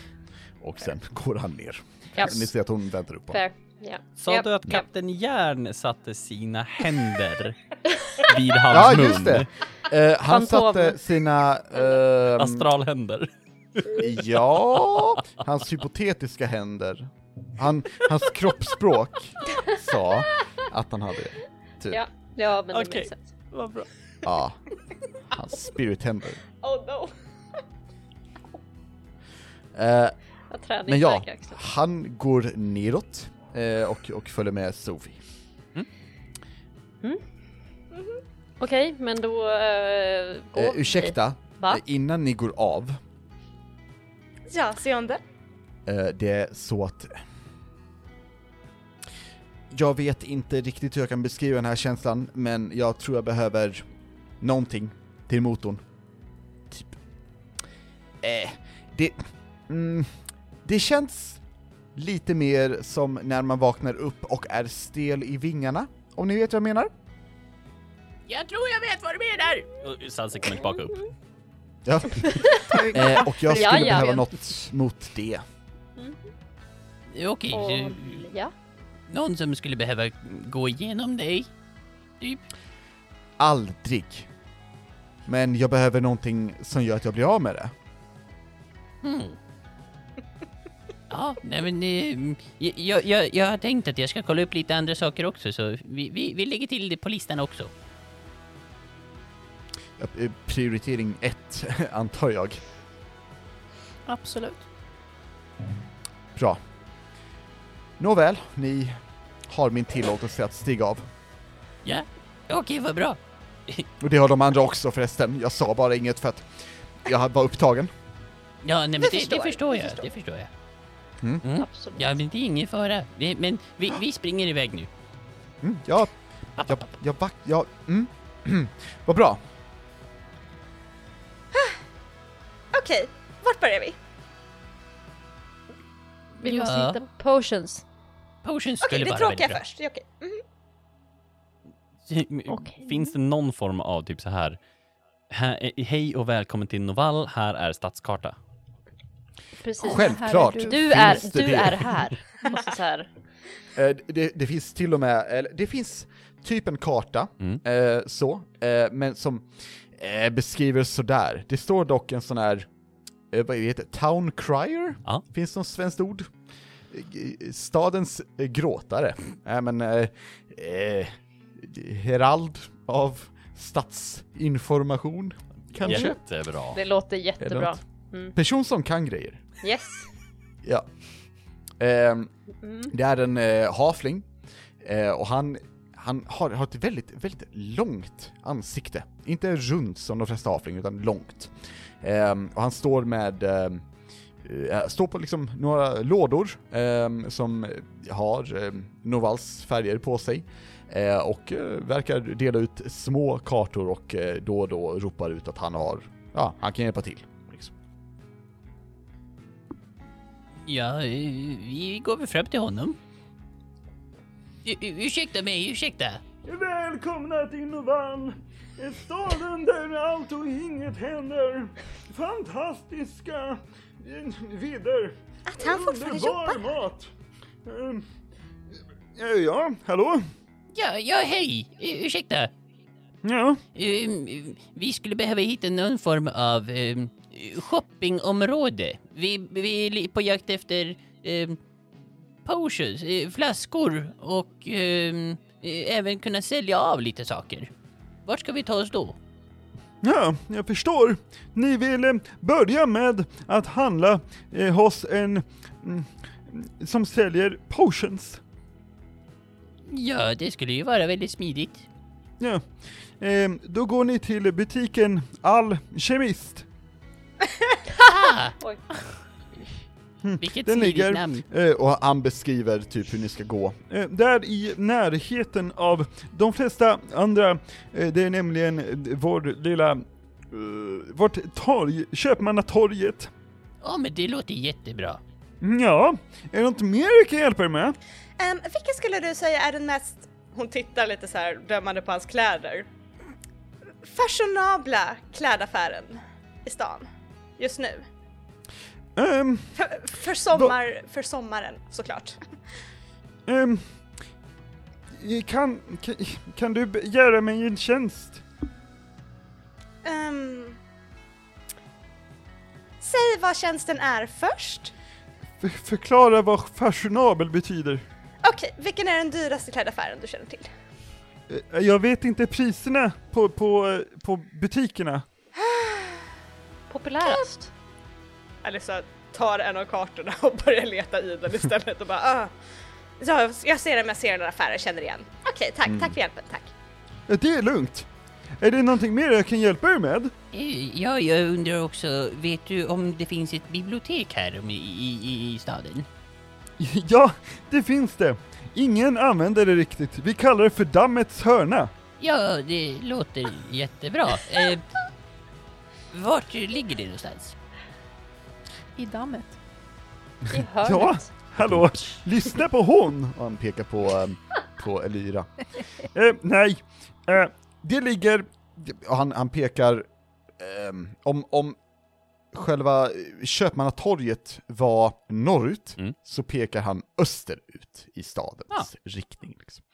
S1: Och sen går han ner.
S3: Ja.
S1: Ni ser att hon väntar upp honom.
S3: Fair. Ja.
S8: Sa
S3: Ja.
S8: du att
S3: Ja.
S8: Kapten Järn satte sina händer vid
S1: Ja,
S8: hans mun?
S1: just det! Eh, han
S3: Fantom.
S1: satte sina... ehm,
S8: Astralhänder.
S1: Ja, hans hypotetiska händer. Han, hans kroppsspråk sa att han hade det.
S3: Ja, ja men det
S8: Okej.
S3: makes sense.
S8: Vad bra.
S1: Ja. Hans spirithänder.
S6: Oh no!
S1: Eh,
S3: Jag tränar
S1: men ja,
S3: i också.
S1: han går neråt eh, och, och följer med Sophie.
S3: Okej, men då eh, går
S1: Eh,
S3: vi.
S1: ursäkta,
S3: Va?
S1: eh, innan ni går av,
S6: Ja, se om det.
S1: eh, det är så att jag vet inte riktigt hur jag kan beskriva den här känslan, men jag tror jag behöver någonting till motorn. Typ. Eh, det... Mm, det känns lite mer som när man vaknar upp och är stel i vingarna, om ni vet vad jag menar?
S7: Jag tror jag vet vad du menar!
S8: Sanse kommer tillbaka upp.
S1: Ja. eh, och jag skulle
S3: Ja, ja.
S1: behöva något mot det.
S7: Okej,
S3: Och,
S8: Mm.
S7: så
S3: ja.
S7: någon som skulle behöva gå igenom dig. Typ,
S1: Aldrig. Men jag behöver någonting som gör att jag blir av med det.
S7: Hmm. Ja, nej men eh, jag, jag, jag har tänkt att jag ska kolla upp lite andra saker också så vi, vi, vi lägger till det på listan också.
S1: Eh, Prioritering ett, antar jag.
S5: Absolut.
S1: Bra. Nåväl, ni har min tillåtelse att stiga av.
S7: Ja, okej vad bra.
S1: Och det har de andra också förresten. Jag sa bara inget för att jag var upptagen.
S7: Ja, nej, men det, det,
S6: förstår
S7: förstår,
S6: jag, det
S7: jag,
S6: förstår
S7: det förstår jag.
S1: Mm.
S3: Absolut.
S7: Ja, men det är ingen fara. Vi, men vi, vi springer iväg nu.
S1: Mm, jag... Jag... Jag... Jag... jag mm. Vad bra.
S6: Okej, vart börjar vi?
S3: Vi måste
S7: Ja.
S3: hitta potions.
S7: Potions
S6: Okej,
S7: skulle
S6: det
S7: vara väldigt
S6: tråkiga
S7: bra.
S6: först. Det är Okej. Mm.
S3: Okej.
S8: Finns det någon form av typ så här, här eh, hej och välkommen till Novall, här är stadskarta.
S3: Precis.
S1: Självklart.
S5: Här är
S3: Du är,
S1: finns det
S3: du
S1: det.
S3: är här. Måste så här.
S1: Eh, det, det finns till och med, eller det finns typ en karta,
S8: Mm.
S1: eh, så, eh, men som eh, beskriver sådär. Det står dock en sån här, eh, vad heter det, town crier?
S8: Ja.
S1: Finns det något svenskt ord? Eh, Stadens eh, gråtare. Nej men, eh, eh, herald av stadsinformation, kanske?
S8: Jättebra.
S3: Det låter
S1: Eller
S3: jättebra.
S1: något. Person som kan grejer.
S3: Yes.
S1: Ja.
S9: Ehm, Det är en eh, hafling eh, och han, han har, har ett väldigt, väldigt långt ansikte. Inte runt som de flesta hafling, utan långt. Ehm, och han står med ehm, eh, Står på liksom några lådor ehm, som har eh, Novals färger på sig eh, och eh, verkar dela ut små kartor och eh, då och då ropar ut att han har, ja, han kan hjälpa till. Liksom.
S7: Ja, eh, vi går väl fram till honom. U- u- ursäkta mig, ursäkta.
S1: Välkomna till Novan! Ett staden där allt och inget händer. Fantastiska eh, vidder.
S10: Att
S6: Mm.
S10: han fortfarande
S1: Underbar
S10: jobbar.
S1: mat. Ehm, eh, Ja, hallå?
S7: Ja, ja hej, U- ursäkta.
S1: Ja.
S7: Ehm, vi skulle behöva hitta någon form av ehm, shoppingområde. Vi, vi är li- på jakt efter um, potions, eh, flaskor och ehm, eh, även kunna sälja av lite saker. Vart ska vi ta oss då?
S1: Ja, jag förstår. Ni vill eh, börja med att handla eh, hos en mm, som säljer potions.
S7: Ja, det skulle ju vara väldigt smidigt.
S1: Ja. Eh, då går ni till butiken Alkemist. Den
S7: Vilket smidigt
S1: Mm, ligger-
S7: namn.
S9: Eh, och han beskriver typ hur ni ska gå.
S1: Eh, där i närheten av de flesta andra, eh, det är nämligen eh, vår lilla, eh, vårt torg, Köpmannatorget. Mm,
S7: Ja, men det låter jättebra.
S1: Ja, är det något mer jag kan hjälpa er med?
S2: Ehm, vilken skulle du säga är den mest, hon tittar lite så här dömande på hans kläder, fashionabla klädaffären i stan just nu?
S1: Ehm,
S2: För, för, sommar, för sommaren såklart.
S1: ehm, kan, kan, kan du be- göra mig en tjänst?
S2: Ehm, säg vad tjänsten är först.
S1: F- förklara vad fashionabel betyder.
S2: Okej, vilken är den dyraste klädaffären du känner till?
S1: Eh, Jag vet inte priserna på, på, eh, på butikerna.
S3: Populärast?
S2: Alissa tar en av kartorna och börjar leta i den istället och bara ah. Ja, jag ser den, men jag ser den affären, känner igen. Okej, tack,
S6: Mm.
S2: tack för hjälpen, tack.
S1: Ja, Det är lugnt. Är det någonting mer jag kan hjälpa er med?
S7: Eh, Ja, jag undrar också, vet du om det finns ett bibliotek här om- i, i, i staden?
S1: Ja, det finns det. Ingen använder det riktigt. Vi kallar det för dammets hörna.
S7: Ja, det låter jättebra. Eh, vart ligger det någonstans?
S5: I dammet.
S3: I hörnet?
S1: Ja. Hallå, lyssna på hon!
S9: Och han pekar på, eh, på Elyra.
S1: Eh, nej, eh, det ligger...
S9: Och han, han pekar, ehm, om, om
S1: eh,
S9: själva Köpmannatorget var norrut,
S8: Mm.
S9: så pekar han österut i stadens
S1: Ah.
S7: Ja.
S9: riktning. Liksom.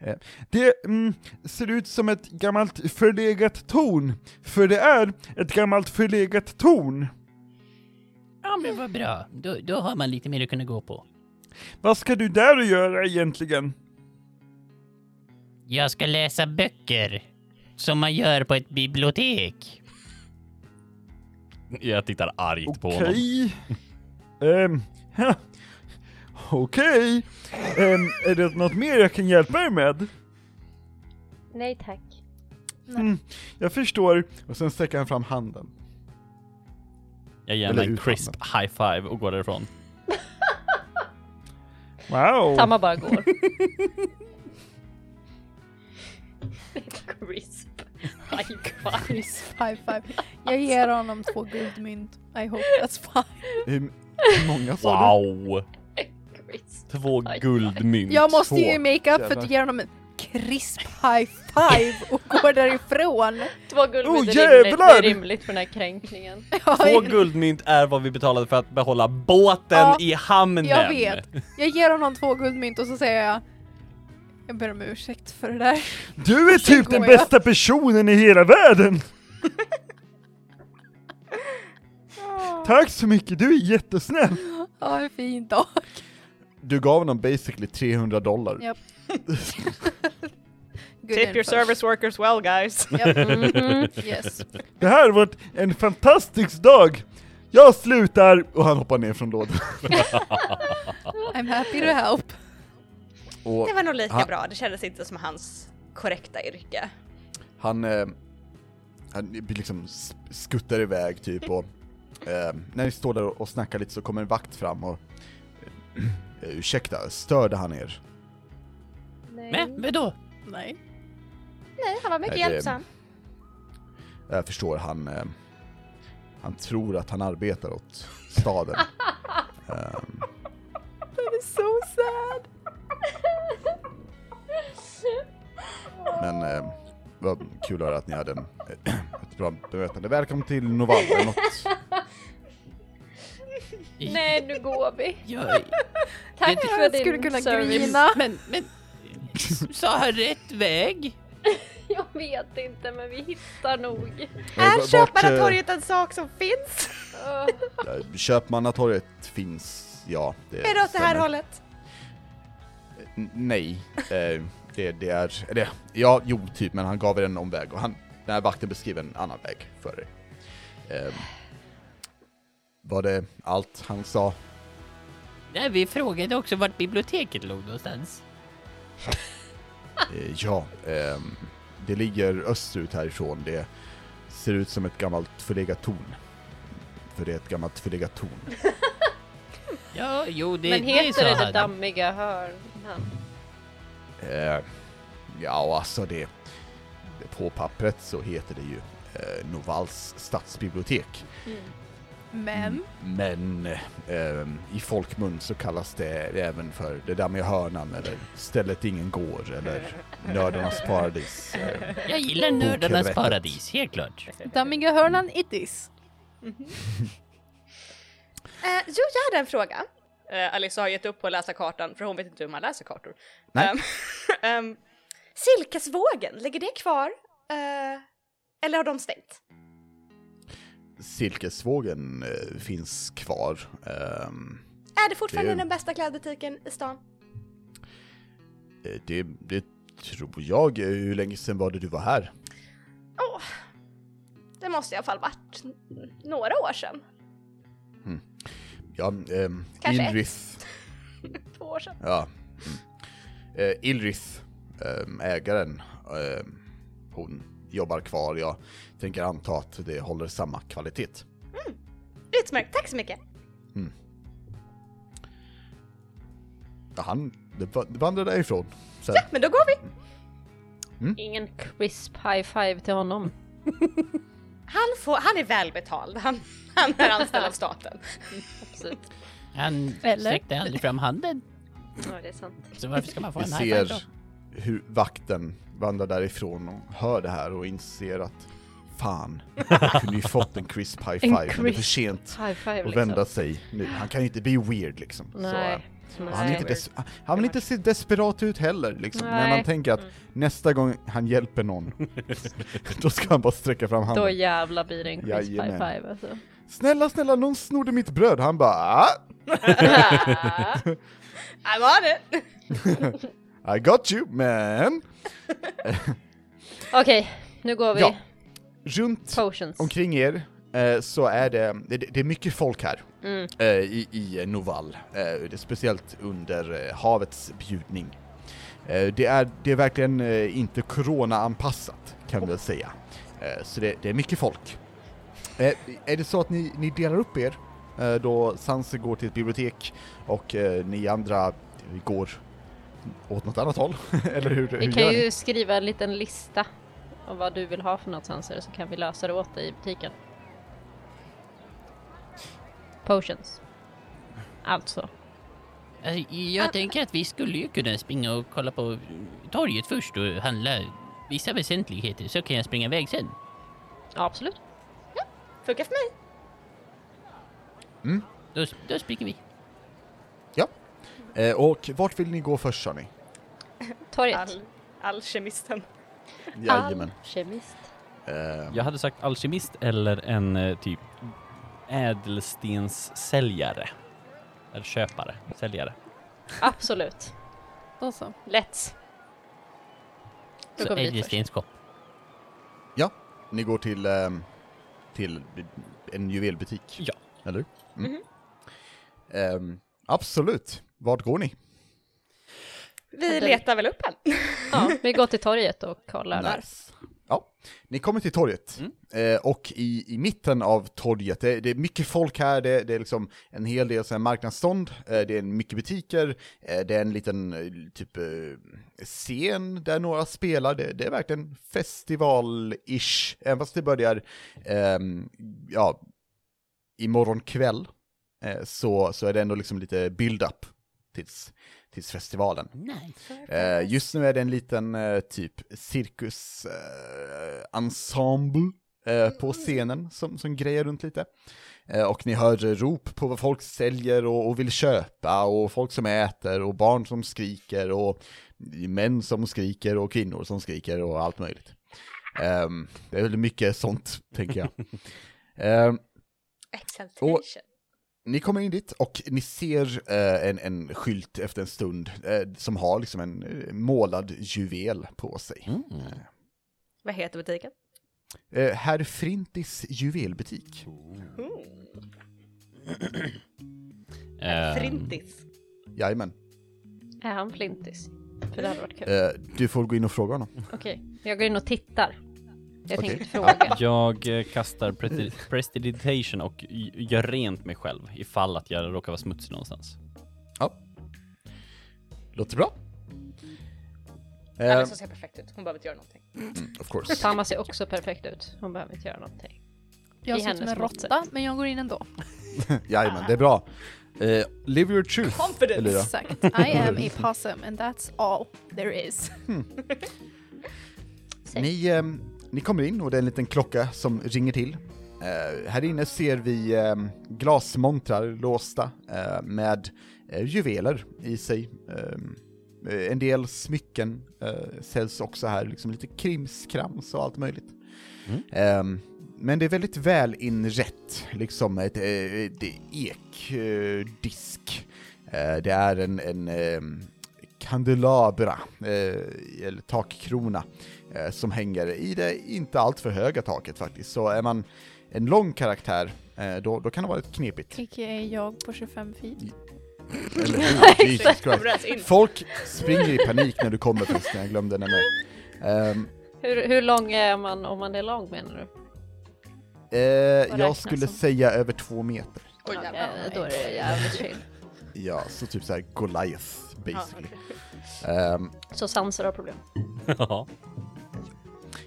S1: Eh, Det mm, ser ut som ett gammalt förlegat torn. För det är ett gammalt förlegat torn.
S7: Ja, men vad bra. Då, då har man lite mer att kunna gå på.
S1: Vad ska du där och göra egentligen?
S7: Jag ska läsa böcker. Som man gör på ett bibliotek.
S8: Jag tittar argt på honom.
S1: Okej. Ehm, ha. Okej. Ehm, är det något mer jag kan hjälpa er med?
S3: Nej tack.
S1: Jag förstår.
S9: Och sen sträcker han fram handen.
S8: Jag ger
S9: Eller
S8: honom en
S9: ut
S8: crisp high five och går därifrån.
S1: Wow.
S3: Tamma bara går.
S10: Crisp. High five.
S5: Chris, high five. Jag ger honom två guldmynt. I hope that's fine.
S9: Hur hur många sa du?
S8: Wow!
S10: Crisp.
S8: Två guldmynt.
S5: Jag måste ju
S9: Två.
S5: i makeup för att ge honom en crisp high five och går därifrån.
S3: Två guldmynt
S1: Oh,
S3: är rimligt, det
S1: jävlar!
S3: är rimligt för den här kränkningen.
S8: Två guldmynt är vad vi betalade för att behålla båten
S5: Ja,
S8: i hamnen.
S5: Jag vet. Jag ger honom två guldmynt och så säger jag jag ber om ursäkt för det där.
S1: Du är typ den
S5: går jag.
S1: bästa personen i hela världen! Tack så mycket, du är jättesnäll!
S5: Ha en fin dag.
S9: Du gav honom basically 300 dollar.
S5: Japp. Good
S2: Tip your
S5: info.
S2: service workers well guys.
S5: Japp. Mhm. Yes.
S1: Det här har varit en fantastisk dag! Jag slutar! Och han hoppar ner från lådan.
S5: I'm happy to help.
S1: Och
S6: Det var nog lika
S1: Ha-
S6: bra, det kändes inte som hans korrekta yrke.
S1: han, eh, han liksom s- skuttar iväg typ och eh, när ni står där och snackar lite så kommer en vakt fram och eh, ursäkta, störde han er?
S7: Men vadå?
S5: Nej.
S6: Nej, han var mycket
S1: Nej, det-
S6: hjälpsam.
S1: Jag förstår, han, eh, han tror att han arbetar åt staden. Ehm,
S5: That is so sad.
S1: men eh, vad kul att höra att ni hade en, eh, ett bra bemötande. Välkommen till Novalla, något
S3: Nej, nu går vi.
S7: Jag,
S3: Tack
S5: Jag
S3: för
S5: skulle kunna
S3: din service.
S5: grina.
S7: men, men... s- Sa han rätt väg?
S3: Jag vet inte, men vi hittar nog.
S6: Är
S1: eh, vart,
S6: Köpmannatorget en sak som finns?
S3: Öh,
S1: eh, Köpmannatorget finns, ja. Det
S6: Är det åt det här
S1: stämmer.
S6: hållet?
S1: N- Nej, eh, det, det är... Det, ja, jo, typ, men han gav er en omväg och han, den här vakten beskriver en annan väg för er. Ehm, var det allt han sa?
S7: Nej, vi frågade också vart biblioteket låg någonstans.
S1: Eh, ja, ehm, det ligger österut härifrån. Det ser ut som ett gammalt förlegat torn. För det är ett gammalt förlegat torn.
S7: Ja, jo, det,
S3: Men
S7: det sa
S3: heter det det
S7: han.
S3: dammiga hörnan?
S1: Eh, ja, alltså det... På pappret så heter det ju eh, Novals stadsbibliotek.
S5: Men.
S1: Men eh, i folkmun så kallas det även för det där med hörnan eller stället ingen går eller nördarnas paradis. Eh,
S7: Jag gillar nördarnas
S1: Bokhelvetet.
S7: paradis, helt klart.
S5: Dammiga hörnan it is.
S6: Eh, jo, jag hade en fråga.
S2: Eh, Alissa har gett upp på att läsa kartan för hon vet inte hur man läser kartor.
S1: Nej.
S2: Ehm, ehm,
S6: Silkesvågen, ligger det kvar? Eh, eller har de stängt?
S1: Silkesvågen eh, finns kvar. ehm,
S6: Är det fortfarande
S1: Det-
S6: den bästa klädbutiken i stan?
S1: Eh, Det, det tror jag. Eh, Hur länge sedan var det du var här?
S6: Åh, det måste i alla fall varit n- några år sedan.
S1: Ja, ehm,
S6: Kanske ett.
S1: Ilrith.
S6: Två år sedan.
S1: Ja. Mm. Eh, Ilrith, ehm, ägaren, ehm, hon jobbar kvar. Jag tänker anta att det håller samma kvalitet.
S6: Utmärkt, tack så mycket.
S1: Ja, Han det- det vandrar därifrån. Sen,
S6: Men då går vi.
S3: Ingen crisp high five till honom.
S6: Han, får, han är välbetald, han, han är anställd av staten.
S3: Absolut.
S7: Han
S5: Eller?
S7: sträckte aldrig fram handen,
S3: Ja, det är sant.
S7: så varför ska man få
S1: vi
S7: en high five då?
S1: ser hur vakten vandrar därifrån och hör det här och inser att fan, jag kunde ju fått en crisp high five, men det är för
S3: crisp
S1: sent
S3: High five
S1: att
S3: liksom.
S1: vända sig nu. Han kan ju inte bli weird liksom. Så, eh,
S3: Nej.
S1: Och Han, är inte
S3: Nej.
S1: des- han vill inte se desperat ut heller liksom, men
S3: Nej. Mm.
S1: han tänker att nästa gång han hjälper någon, då ska han bara sträcka fram handen.
S3: Då jävlar blir det en crisp high
S1: Jajamän.
S3: five alltså.
S1: Snälla, snälla, någon snodde mitt bröd! Han bara ah,
S6: I'm on it!
S1: I got you, man!
S3: Okej, nu går vi.
S1: Ja. Runt
S3: Potions.
S1: omkring er eh, så är det, det, det är mycket folk här
S3: Mm.
S1: eh, i, i Noval, eh, det är speciellt under eh, havets bjudning. Eh, det, är, det är verkligen eh, inte corona-anpassat kan vi väl säga, eh, så det, det är mycket folk. Eh, är det så att ni, ni delar upp er eh, då Sanse går till ett bibliotek och eh, ni andra går åt något annat håll? Eller hur, hur
S3: Vi
S1: gör
S3: kan
S1: ni?
S3: ju skriva en liten lista om vad du vill ha för något Sanser så kan vi lösa det åt dig i butiken. Potions. Alltså.
S7: Alltså, jag tänker att vi skulle ju kunna springa och kolla på torget först och handla vissa väsentligheter, så kan jag springa iväg sen.
S3: Ja, absolut.
S6: Funkar för mig.
S7: Då, då springer vi.
S1: Ja. Eh, och vart vill ni gå först sa ni?
S3: Torget.
S2: al- alkemisten.
S1: Jajamän.
S3: Kemist.
S1: Eh,
S8: Jag hade sagt alkemist eller en eh, typ ädelstenssäljare. Eller köpare, säljare.
S3: Absolut.
S5: Då så.
S3: Let's. Alltså, Då
S7: Så
S3: går vi dit först.
S7: ädelstenskopp.
S1: Ja, ni går till, ehm, till en juvelbutik.
S8: Ja.
S1: Eller? Mm. Ehm, absolut. Vart går ni?
S6: Vi letar väl upp en.
S3: Ja, vi går till torget och kollar där.
S1: Nice. Ja, ni kommer till torget. Eh, och i, i mitten av torget, det, det är mycket folk här, det, det är liksom en hel del sådana här marknadsstånd, eh, det är mycket butiker, eh, det är en liten eh, typ eh, scen där några spelar, det, det är verkligen festival-ish, även fast det börjar, ehm, ja, imorgon kväll, eh, så, så är det ändå liksom lite build-up tills, tills festivalen. Eh, just nu är det en liten eh, typ cirkusensemble eh, ensemble, eh, på scenen som, som grejer runt lite. Eh, och ni hör eh, rop på vad folk säljer och, och vill köpa och folk som äter och barn som skriker och män som skriker och kvinnor som skriker och allt möjligt. Ehm, det är väl mycket sånt, tänker jag. Ehm,
S6: Exaltation.
S1: ni kommer in dit och ni ser eh, en, en skylt efter en stund eh, som har liksom en eh, målad juvel på sig.
S8: Mm.
S6: Vad heter butiken?
S1: Eh, Herr Frintis juvelbutik.
S8: Ehm,
S4: Eh,
S6: Frintis.
S1: Jajamän.
S3: Är han flintis? För det hade varit kul.
S1: Eh, du får gå in och fråga honom.
S3: Okej, jag går in och tittar. Jag
S1: Okej.
S3: tänkte fråga.
S8: Jag eh, kastar presti- prestidigitation och y- gör rent mig själv ifall att jag råkar vara smutsig någonstans.
S1: Låter bra. Eh,
S2: Alice ser perfekt ut, hon behöver inte göra någonting.
S1: mm, of course.
S3: Samma ser också perfekt ut. Hon behöver inte göra någonting.
S5: Jag
S3: I
S5: ser ut som
S3: hennes
S5: en råtta,
S3: mått.
S5: men jag går in ändå.
S1: Jajamän, det är bra. Eh, live your truth,
S2: Confidence.
S1: Elira.
S5: Exakt. I am a possum and that's all there is.
S1: Ni, ehm, ni kommer in och det är en liten klocka som ringer till. Eh, här inne ser vi ehm, glasmontrar låsta eh, med eh, juveler i sig. Ehm, eh, en del smycken eh, säljs också här, liksom lite krimskrams och allt möjligt. Ehm, men det är väldigt väl inrett, liksom ett, eh, ett ek, eh, disk. Eh, det är en, en ehm, kandelabra, eh, eller takkrona, eh, som hänger i det inte allt för höga taket faktiskt. Så är man en lång karaktär, eh, då, då kan det vara lite knepigt.
S5: A.k.a. jag på 25 feet.
S1: Eller hur? Jesus Christ.
S2: Rätt in.
S1: Folk springer i panik när du kommer förresten, jag glömde nämna det. Ehm,
S3: Hur, hur lång är man om man är lång menar du?
S1: eh,
S3: Vad
S1: jag
S3: räknas
S1: skulle
S3: som?
S1: säga över två meter.
S2: Oj,
S3: Okej,
S2: jävlar.
S3: då är det jävligt chill.
S1: Ja, så typ såhär Goliath basically. Ehm,
S3: Så Sanser har problem.
S8: Ja.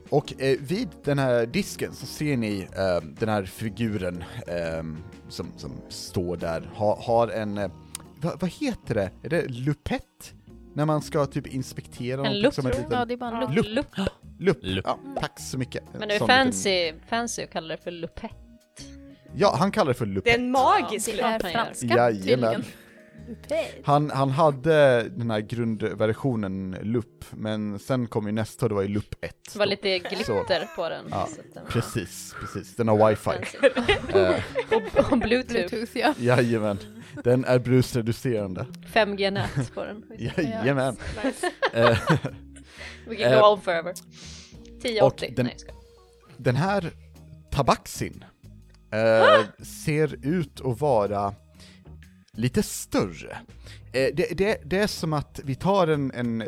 S1: Och eh, vid den här disken så ser ni eh, den här figuren eh, som, som står där, ha, har en, eh, va, vad heter det? Är det lupett? När man ska typ inspektera
S3: En
S1: något
S3: lupp,
S1: som en
S5: Ja,
S1: liten
S5: det är bara en lupp.
S1: lupp.
S3: Lupp.
S1: lupp.
S8: Lupp.
S1: Ja, tack så mycket.
S3: Men det är
S1: Sån
S3: fancy, fancy att kalla det för lupett.
S1: Liten, ja, han kallar det för
S2: Det är
S1: lupett.
S2: en magisk
S5: Det
S2: låt.
S5: är
S3: man
S5: franska
S1: Jajamän.
S5: tydligen.
S1: Han, han hade den här grundversionen lupp, men sen kom ju nästa och det var ju lupp 1.
S3: Det var lite glitter på den.
S1: Ja,
S3: så att den var
S1: Precis, precis. Den har wifi.
S3: fancy.
S1: Eh,
S3: Och, och bluetooth.
S5: Bluetooth ja.
S1: jajamän. Den är brusreducerande.
S3: 5G-nät på den.
S1: Jajamän. Eh,
S3: We can go
S1: Eh,
S3: on forever. 1080.
S1: och den-
S3: Nej, jag skojar.
S1: Den här tabaxin eh, ser ut att vara lite större. Eh, det, det, det är som att vi tar en, en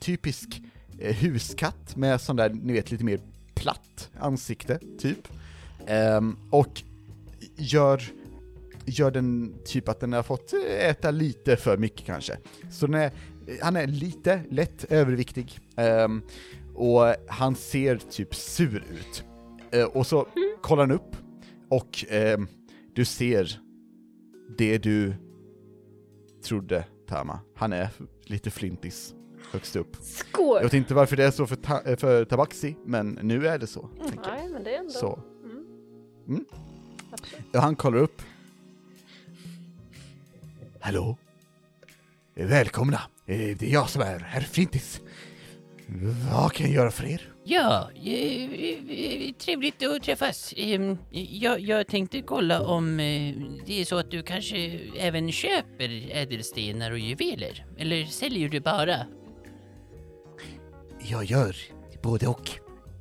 S1: typisk eh, huskatt med sån där, ni vet, lite mer platt ansikte, typ. Ehm, och gör, gör den typ att den har fått äta lite för mycket kanske. Så den är, han är lite lätt överviktig. Ehm, och han ser typ sur ut. Eh, och så kollar han upp och ehm, du ser det du trodde, Tama. Han är lite flintis högst upp. Jag
S3: Skål!
S1: vet inte varför det är så för, ta- eh, för Tabaxi, men nu är det så. tänker jag.
S3: Nej, men det är ändå...
S1: Så.
S3: Mm.
S1: Mm.
S3: Absolut.
S1: Ja, han kollar upp. Hallå? Eh, Välkomna! Eh, Det är jag som är herr Flintis. Vad kan jag göra för er?
S7: Ja, eh, eh, trevligt att träffas. Ehm, Jag, jag tänkte kolla om eh, det är så att du kanske även köper ädelstenar och juveler? Eller säljer du bara?
S1: Jag gör både och.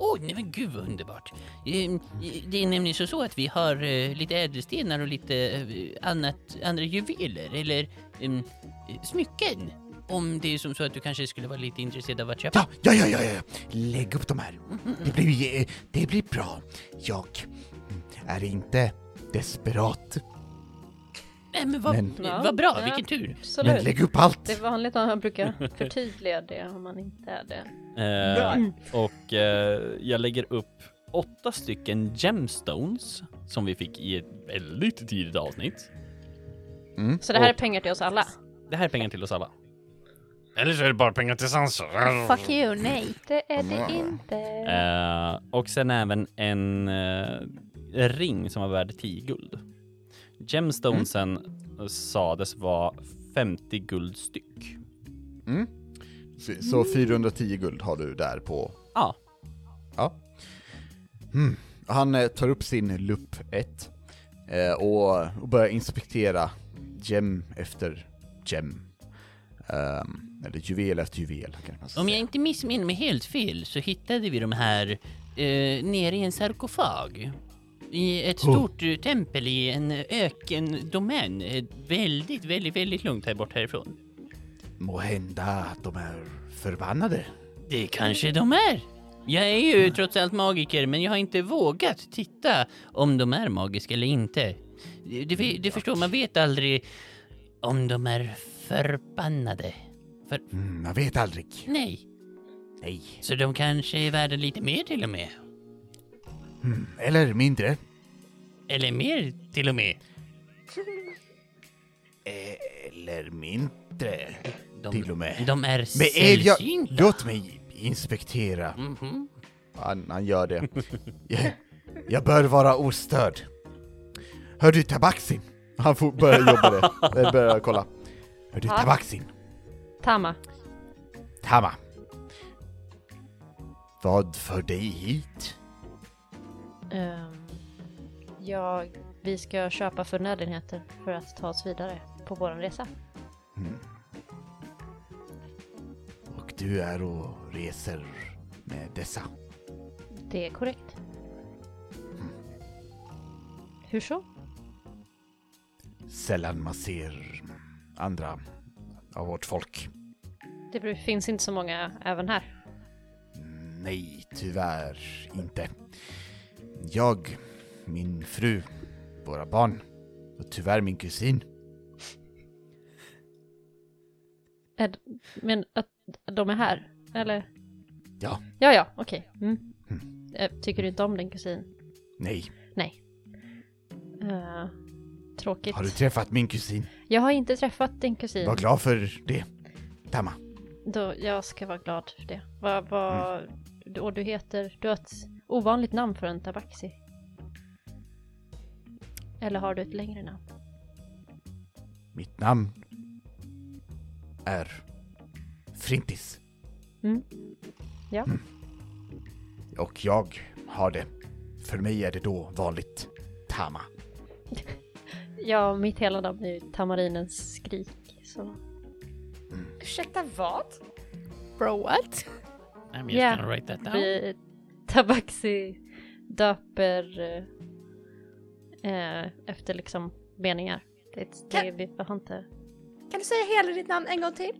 S7: Åh, nej men gud vad underbart. Ehm, Det är nämligen så, så att vi har eh, lite ädelstenar och lite eh, annat, andra juveler eller ehm, smycken. Om det är som så att du kanske skulle vara lite intresserad av att köpa.
S1: Ja, ja, ja, ja, ja. Lägg upp de här. Det blir, eh, det blir bra. Jag är inte desperat,
S7: Nej men vad,
S1: Men-
S3: Ja.
S7: vad bra,
S3: Ja.
S7: vilken tur.
S1: men
S3: Absolut.
S1: lägg upp allt.
S3: Det är vanligt att man brukar förtydliga det om man inte är det.
S8: Eh, och eh, jag lägger upp åtta stycken gemstones som vi fick i ett väldigt tidigt avsnitt.
S3: Så det här är pengar till oss alla.
S8: Det här är pengar till oss alla.
S4: Eller så är det bara pengar till Sansa.
S5: Fuck you, nej.
S3: Det är det inte.
S8: Eh, och sen även en eh, ring som var värd 10 guld. Gemstonesen eh, sades vara 50 guld styck.
S11: Så- Så 410 guld har du där på...
S8: Ja.
S11: Ja. Mm. Han eh, tar upp sin lupp 1 eh, och, och börjar inspektera gem efter gem. Ehm, eller juvel efter juvel kanske man ska
S7: Om
S11: säga.
S7: jag inte missminner mig helt fel så hittade vi de här eh, nere i en sarkofag. I ett
S1: Oh.
S7: stort eh, tempel i en ökendomän. Eh, Väldigt, väldigt, väldigt långt här bort härifrån.
S1: Må hända att de är förbannade.
S7: Det kanske de är. Jag är ju trots allt magiker men jag har inte vågat titta om de är magiska eller inte. Du, du, du förstår, man vet aldrig om de är förbannade. För,
S1: Mm, man vet aldrig.
S7: nej.
S1: Nej.
S7: Så de kanske är värda lite mer till och med.
S1: Eller mindre.
S7: Eller mer till och med.
S1: Eller mindre.
S7: Eh, De,
S1: Till och med.
S7: De är
S1: Men är jag...
S7: sällsynta.
S1: Låt mig inspektera.
S7: Mhm.
S11: Han, han gör det.
S1: Jag, jag bör vara ostörd. Hör du Tabaxin?
S11: Han får börjar jobba det. Eh, Börjar kolla.
S1: Hör du
S3: Ja.
S1: Tabaxin?
S3: Tama.
S1: Tama. Vad för dig hit?
S3: Ehm, ja, vi ska köpa förnödenheter för att ta oss vidare på vår resa.
S1: Och du är och reser med dessa.
S3: Det är korrekt. Hur så?
S1: Sällan man ser andra av vårt folk.
S3: Det finns inte så många även här.
S1: Nej, tyvärr inte. Jag, min fru, våra barn och tyvärr min kusin.
S3: Är, men att de är här? Eller?
S1: Ja.
S3: Ja, ja, okej. Mm. Eh, Tycker du inte om din kusin?
S1: Nej,
S3: Eh, tråkigt.
S1: har du träffat min kusin?
S3: Jag har inte träffat din kusin.
S1: Var glad för det. Tama.
S3: Då, jag ska vara glad för det. Vad, vad, du- och du heter, du har ett ovanligt namn för en tabaxi. Eller har du ett längre namn?
S1: Mitt namn är Frintis.
S3: Mm. Ja.
S1: Mm. Och jag har det. För mig är det då vanligt Tama.
S3: Ja, mitt hela namn är ju Tamarinens skrik. Så.
S2: Ursäkta vad?
S5: Bro what?
S7: I'm just
S3: Yeah.
S7: gonna write that down.
S3: Vi, tabaxi döper eh, eh, efter liksom meningar. Det, det, det, vi har inte...
S2: Kan du säga hela ditt namn en gång till?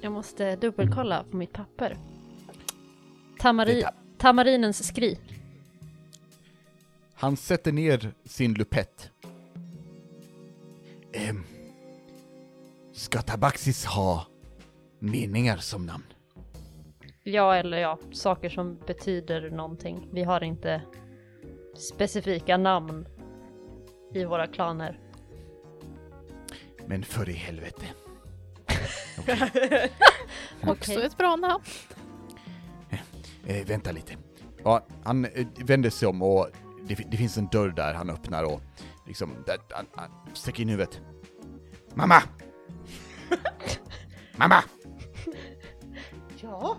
S3: Jag måste dubbelkolla på mitt papper. Tamari, tamarinens skrik.
S11: Han sätter ner sin lupett.
S1: Ehm, ska Tabaxis ha meningar som namn?
S3: Ja, eller ja, saker som betyder någonting. Vi har inte specifika namn i våra klaner.
S1: Men för i helvete.
S5: Också ett bra namn.
S1: Eh, vänta lite.
S11: Ja, han eh, vänder sig om och det, fi- det finns en dörr där han öppnar och liksom, där, han, han sticker in huvudet.
S1: Mamma! Mamma!
S2: Ja.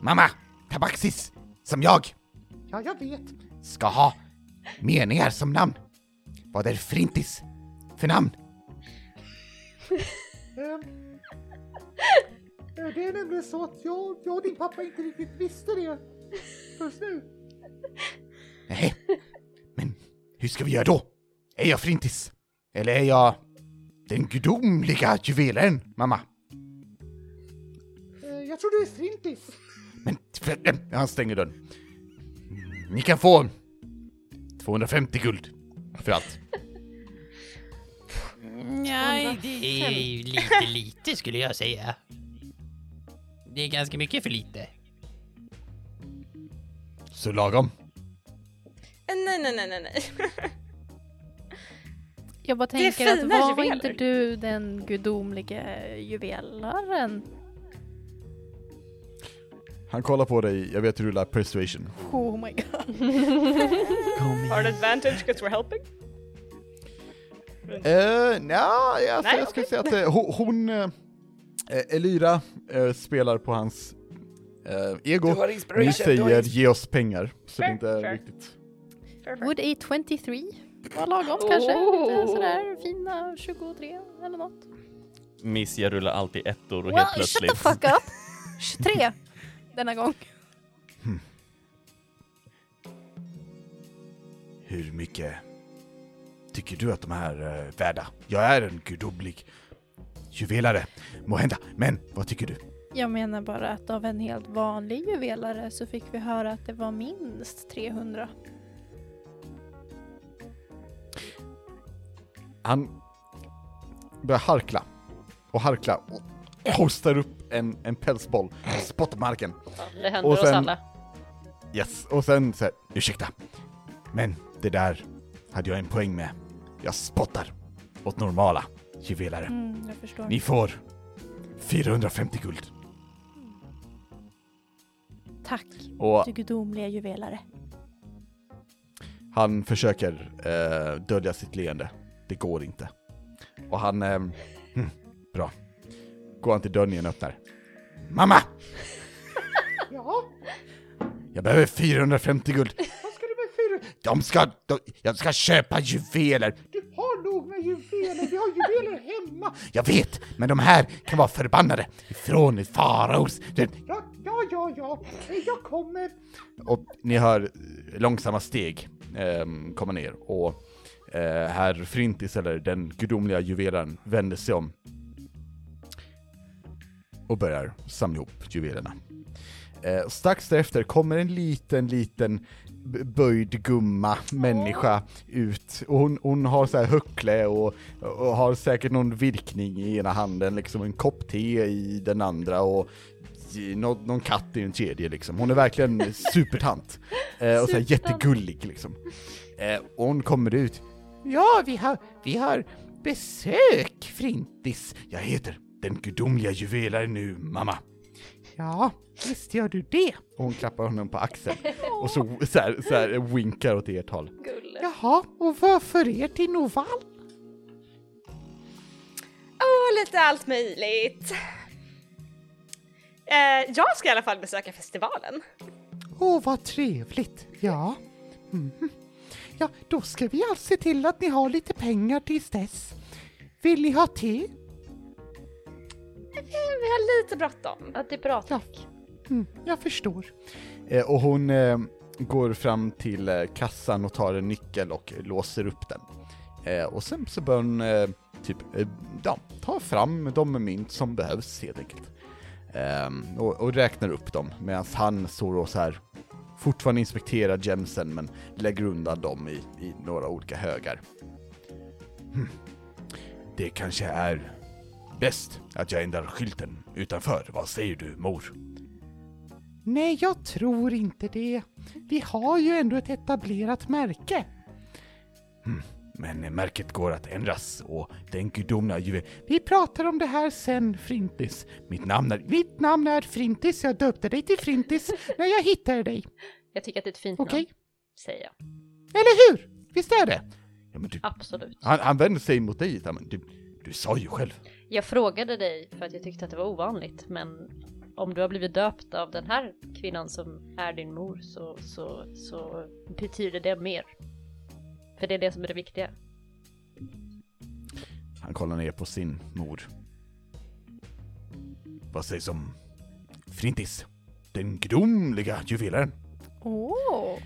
S1: Mamma! Tabaxis, som jag,
S2: Ja, jag vet.
S1: ska ha meningar som namn. Vad är Frintis för namn?
S12: Ja, Det är nämligen så att jag, jag och din pappa inte riktigt visste det först nu.
S1: Nej, men hur ska vi göra då? Är jag Frintis? Eller är jag den gudomliga juvelaren, mamma?
S12: Eh, Jag tror du är Strintis.
S1: Men för- eh, han stänger dörren. Ni kan få 250 guld för allt.
S7: Nej, det är ju lite lite skulle jag säga. Det är ganska mycket för lite.
S1: Så lagom.
S6: Eh, Nej, nej, nej, nej, nej.
S5: Jag bara
S6: Det är
S5: tänker att
S6: fina
S5: var
S6: juveler.
S5: inte du den gudomlige juvelaren?
S1: Han kollar på dig, jag vet hur du lär persuasion.
S5: Oh my god.
S2: Hard advantage because we're helping.
S1: Eh, nja, alltså,
S2: Nej,
S1: jag skulle säga att eh, ho- hon, eh, Elira, eh, spelar på hans eh, ego. Ni säger ge oss pengar, så det
S2: Fair,
S1: inte är
S2: fair.
S1: riktigt.
S5: Would A23 vara lagom kanske? Lite sådär fina 23 eller något.
S8: Missia rullar alltid ettor och
S5: Well,
S8: helt
S5: shut the
S8: plötsligt...
S5: fuck up! 23 denna gång.
S1: Hur mycket tycker du att de här är värda? Jag är en gudomlig juvelare, må hända. Men vad tycker du?
S5: Jag menar bara att av en helt vanlig juvelare så fick vi höra att det var minst 300.
S1: Han börjar harkla och harkla och hostar upp en, en pälsboll, spottar på marken.
S3: Det händer
S1: Och
S3: oss
S1: sen-
S3: alla.
S1: Yes, och sen så här, ursäkta. Men det där hade jag en poäng med. Jag spottar åt normala juvelare.
S5: Mm, jag förstår.
S1: Ni får 450 guld.
S5: Tack,
S1: Och
S5: du gudomliga juvelare.
S1: han försöker eh, dölja sitt leende. Det går inte. Och han... Eh, hm, bra. Går han till dörren igen och öppnar. Mamma!
S12: Ja,
S1: Jag behöver 450 guld.
S12: vad ska du med fyra?
S1: De ska... De, jag ska köpa juveler.
S12: Du har nog med juveler, vi har juveler hemma.
S1: Jag vet, men de här kan vara förbannade. Ifrån faraos... Det-
S12: Ja, ja, ja, ja. Eh, Jag kommer.
S1: Och ni hör eh, långsamma steg ehm, komma ner och eh, herr Frintis, eller den gudomliga juvelaren, vänder sig om och börjar samla ihop juvelerna. Eh, strax därefter kommer en liten, liten b- böjd gumma människa ut och hon, hon har så här höckle och, och har säkert någon virkning i ena handen, liksom en kopp te i den andra och i- någon, någon katt i den tredje liksom. Hon är verkligen supertant. Eh, och så här jättegullig liksom. Eh, och hon kommer ut. Ja, vi har, vi har besök, Frintis. Jag heter den gudomliga juvelaren nu, mamma.
S12: Ja, visst gör du det.
S1: Och hon klappar honom på axeln och så, så, här, så här winkar åt ert håll.
S12: Jaha, och vad för er till Noval?
S6: Åh, lite allt möjligt. Eh, jag ska i alla fall besöka festivalen.
S12: Åh, vad trevligt. Ja. Mhm. Ja, då ska vi alltså se till att ni har lite pengar tills dess. Vill ni ha te?
S6: Eh, vi har lite bråttom.
S3: Ja, det är bra tack.
S12: Mm, jag förstår.
S1: Eh, och hon eh, går fram till eh, kassan och tar en nyckel och låser upp den. Eh, och sen så börjar hon eh, typ, eh, ja, ta fram de mynt som behövs helt enkelt. Ehm, och, och räknar upp dem medan han står och så här fortfarande inspekterar gemsen men lägger undan dem i, i några olika högar. Hm. Det kanske är bäst att jag ändrar skylten utanför. Vad säger du mor?
S12: Nej, jag tror inte det. Vi har ju ändå ett etablerat märke.
S1: Men eh, märket går att ändras och den gudomliga juvel...
S12: Vi pratar om det här sen, Frintis.
S1: Mitt namn är...
S12: Mitt namn är Frintis, jag döpte dig till Frintis när jag hittade dig.
S3: Jag tycker att det är ett fint
S12: Okej?
S3: namn, säger jag.
S12: Eller hur? Visst är det?
S1: Ja, men du,
S3: Absolut.
S1: han, han vänder sig mot dig, Ita, men du, du sa ju själv.
S3: Jag frågade dig för att jag tyckte att det var ovanligt, men om du har blivit döpt av den här kvinnan som är din mor så, så, så betyder det mer. För det är det som är det viktiga.
S1: Han kollar ner på sin mor. vad sägs om Frintis? Den gudomliga juvelaren.
S5: Åh!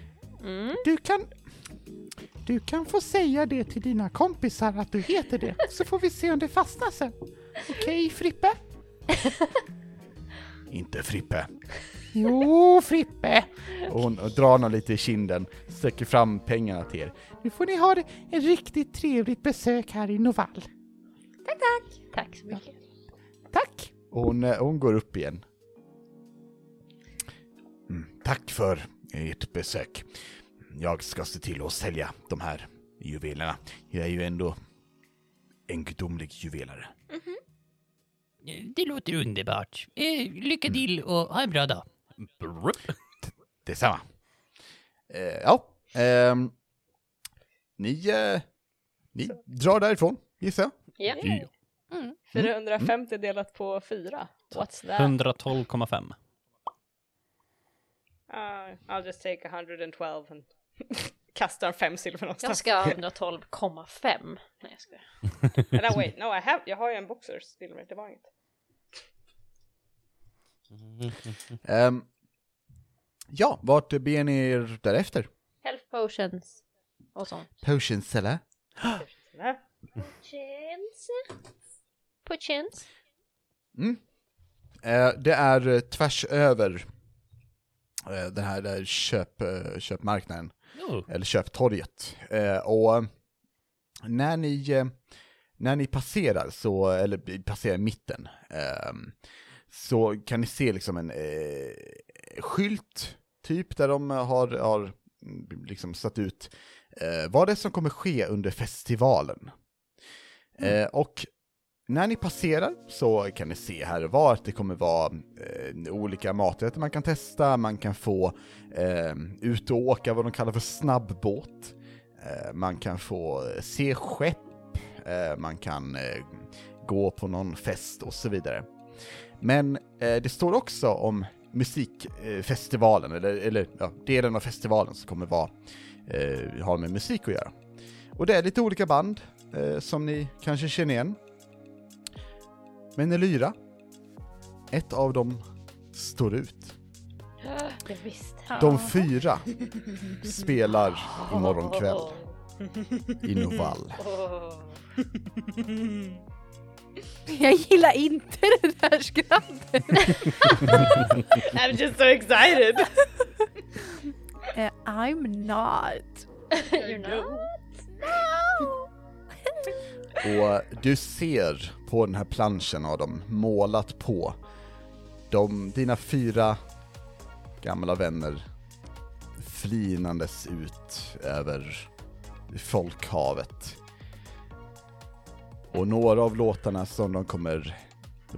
S3: Mm.
S12: Du kan... Du kan få säga det till dina kompisar att du heter det, så får vi se om det fastnar sen. Okej, Frippe?
S1: Inte Frippe.
S12: Jo, Frippe!
S1: Och hon drar honom lite i kinden, sträcker fram pengarna till er.
S12: Nu får ni ha det- ett riktigt trevligt besök här i Novall.
S3: Tack så mycket.
S12: Tack!
S1: Och hon, eh, hon går upp igen. Mm, tack för ert besök. Jag ska se till att sälja de här juvelerna. Jag är ju ändå en gudomlig juvelare.
S7: Det låter underbart. Eh, lycka till och ha en bra dag.
S1: Detsamma. Eh, ja. ehm, ni, eh, ni drar därifrån, gissar jag.
S2: Ja.
S4: Ja.
S5: Mm.
S2: 450 delat på 4. What's that?
S8: 112,5.
S2: Uh, I'll just take 112 and kastar en fem silver
S3: Jag
S2: någonstans.
S3: ska ha 112,5. Nej jag skojar.
S2: Eller wait, no I have, jag har ju en boxers silver, det var inget.
S1: Ehm, ja, vart beger ni er därefter?
S3: Health potions och sånt.
S1: Potions, eller?
S2: Nej.
S3: Chance. Potions.
S1: Eh, det är eh, tvärs över eh, den här där köp, eh, köpmarknaden,
S8: Oh.
S1: eller köptorget. Eh, och när ni, eh, när ni passerar, så, eller passerar mitten, ehm, så kan ni se liksom en eh, skylt, typ, där de har, har mm, liksom satt ut eh, vad det är som kommer ske under festivalen. Eh, och när ni passerar så kan ni se här och var att det kommer vara eh, olika maträtter man kan testa, man kan få eh, ut och åka vad de kallar för snabbbåt, eh, man kan få se skepp, eh, man kan eh, gå på någon fest och så vidare. Men eh, det står också om musikfestivalen, eller, eller ja, delen av festivalen som kommer vara, eh, ha med musik att göra. Och det är lite olika band eh, som ni kanske känner igen. Men Elyra, ett av dem står ut.
S3: Det visste
S1: De fyra spelar imorgon kväll i Novall.
S5: Jag gillar inte den här skrattet.
S2: I'm just so excited!
S5: Eh, I'm not.
S3: You're not.
S5: No!
S1: Och du ser på den här planschen har de målat på de, dina fyra gamla vänner flinandes ut över folkhavet. Och några av låtarna som de kommer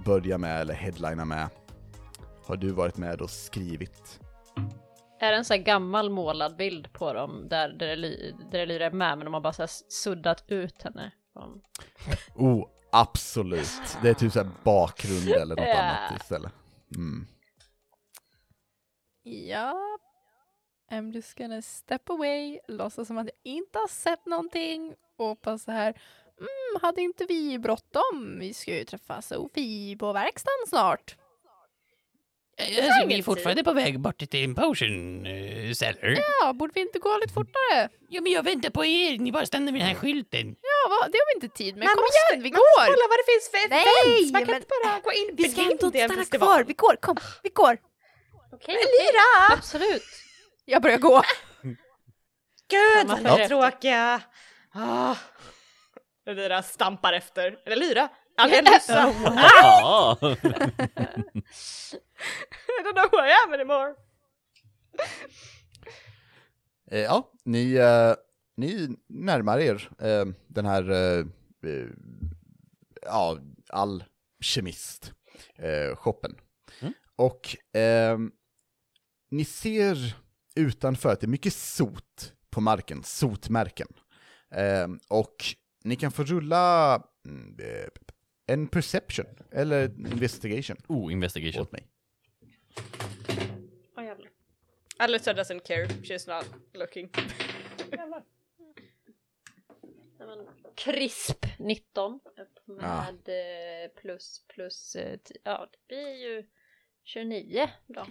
S1: börja med eller headlina med har du varit med och skrivit.
S3: Är det en sån här gammal målad bild på dem där Drely- Drelyra är med men de har bara så här suddat ut henne? från-
S1: Oh, absolut. Det är typ såhär bakgrund eller något
S3: Ja.
S1: annat istället. Mm.
S5: Ja. I'm just gonna step away, låtsas som att jag inte har sett någonting och bara så här. Mm, hade inte vi bråttom? Vi ska ju träffa Sofie på verkstaden snart.
S7: Eh, Alltså, vi är fortfarande på väg bort till en potion eh, seller.
S5: Ja, borde vi inte gå lite fortare?
S7: Ja, men jag väntar på er. Ni bara stannar vid den här skylten.
S5: Ja, vad? det har vi inte tid med.
S2: Man
S5: Kom
S2: måste-
S5: igen, vi
S2: man måste
S5: går!
S2: kolla vad det finns för
S5: Nej,
S2: events! Man kan
S5: men-
S2: inte bara gå in
S5: Vi ska
S2: blind
S5: inte
S2: i en
S5: stanna
S2: festival.
S5: kvar, vi går, kom, vi går!
S3: Okej, Elira! Absolut!
S5: Jag börjar gå.
S2: Gud,
S3: Mamma
S2: vad
S3: följer
S2: tråkiga! Ah. Lyra stampar efter. Eller Lyra! Algenusa!
S8: Ah!
S2: I don't know who I am anymore!
S1: Eh, ja, ni, eh, ni närmar er eh, den här, eh, eh, ja, alkemist eh, shoppen. Och eh, ni ser utanför att det är mycket sot på marken, sotmärken. Eh, och ni kan få rulla mm, eh, en perception, eller investigation,
S8: Oh, investigation.
S1: åt mig.
S3: Åh jävlar.
S2: Alyssa doesn't care, she's not looking.
S3: Det var en krisp 19 upp med eh, plus plus, eh, ti- ja det blir ju 29 då.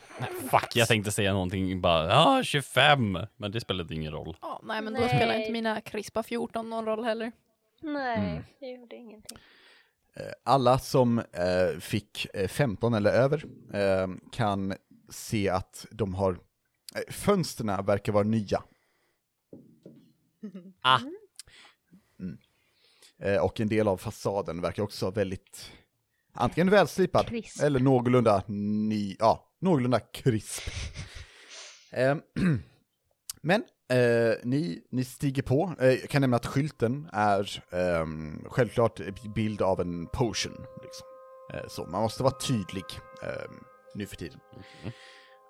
S8: Fuck, jag tänkte säga någonting bara, ja ah, 25! Men det spelade ingen roll.
S5: Ja, nej men då spelar
S3: Nej.
S5: inte mina krispa 14 någon roll heller.
S3: Nej, det gjorde ingenting.
S1: Eh, Alla som eh, fick eh, 15 eller över eh, kan se att de har, eh, fönsterna verkar vara nya.
S8: Ah.
S1: Mm. Eh, och en del av fasaden verkar också vara väldigt, antingen välslipad
S3: Krisp.
S1: eller någorlunda ny, ja, någorlunda krisp. Eh, Men eh, ni, ni stiger på. Eh, jag kan nämna att skylten är ehm, självklart en bild av en potion. Liksom. Eh, så man måste vara tydlig ehm, nu för tiden.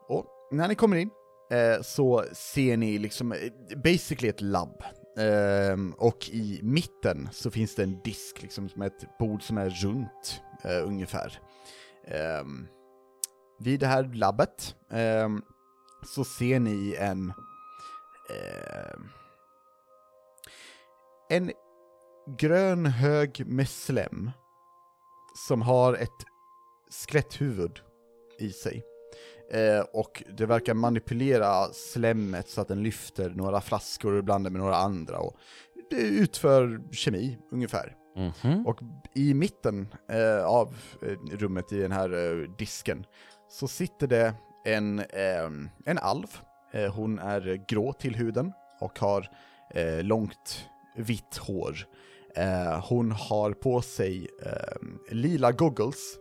S1: Och när ni kommer in eh, så ser ni liksom eh, basically ett labb. Ehm, och i mitten så finns det en disk liksom med ett bord som är runt eh, ungefär. Ehm, vid det här labbet ehm, så ser ni en... Eh, en grön hög med slem som har ett skeletthuvud i sig. Eh, och det verkar manipulera slemmet så att den lyfter några flaskor och blandar med några andra. Och det utför kemi, ungefär.
S8: Mhm.
S1: Och i mitten eh, av eh, rummet i den här eh, disken så sitter det en, ehm, en alv. Eh, hon är grå till huden och har eh, långt vitt hår. Eh, hon har på sig ehm, lila goggles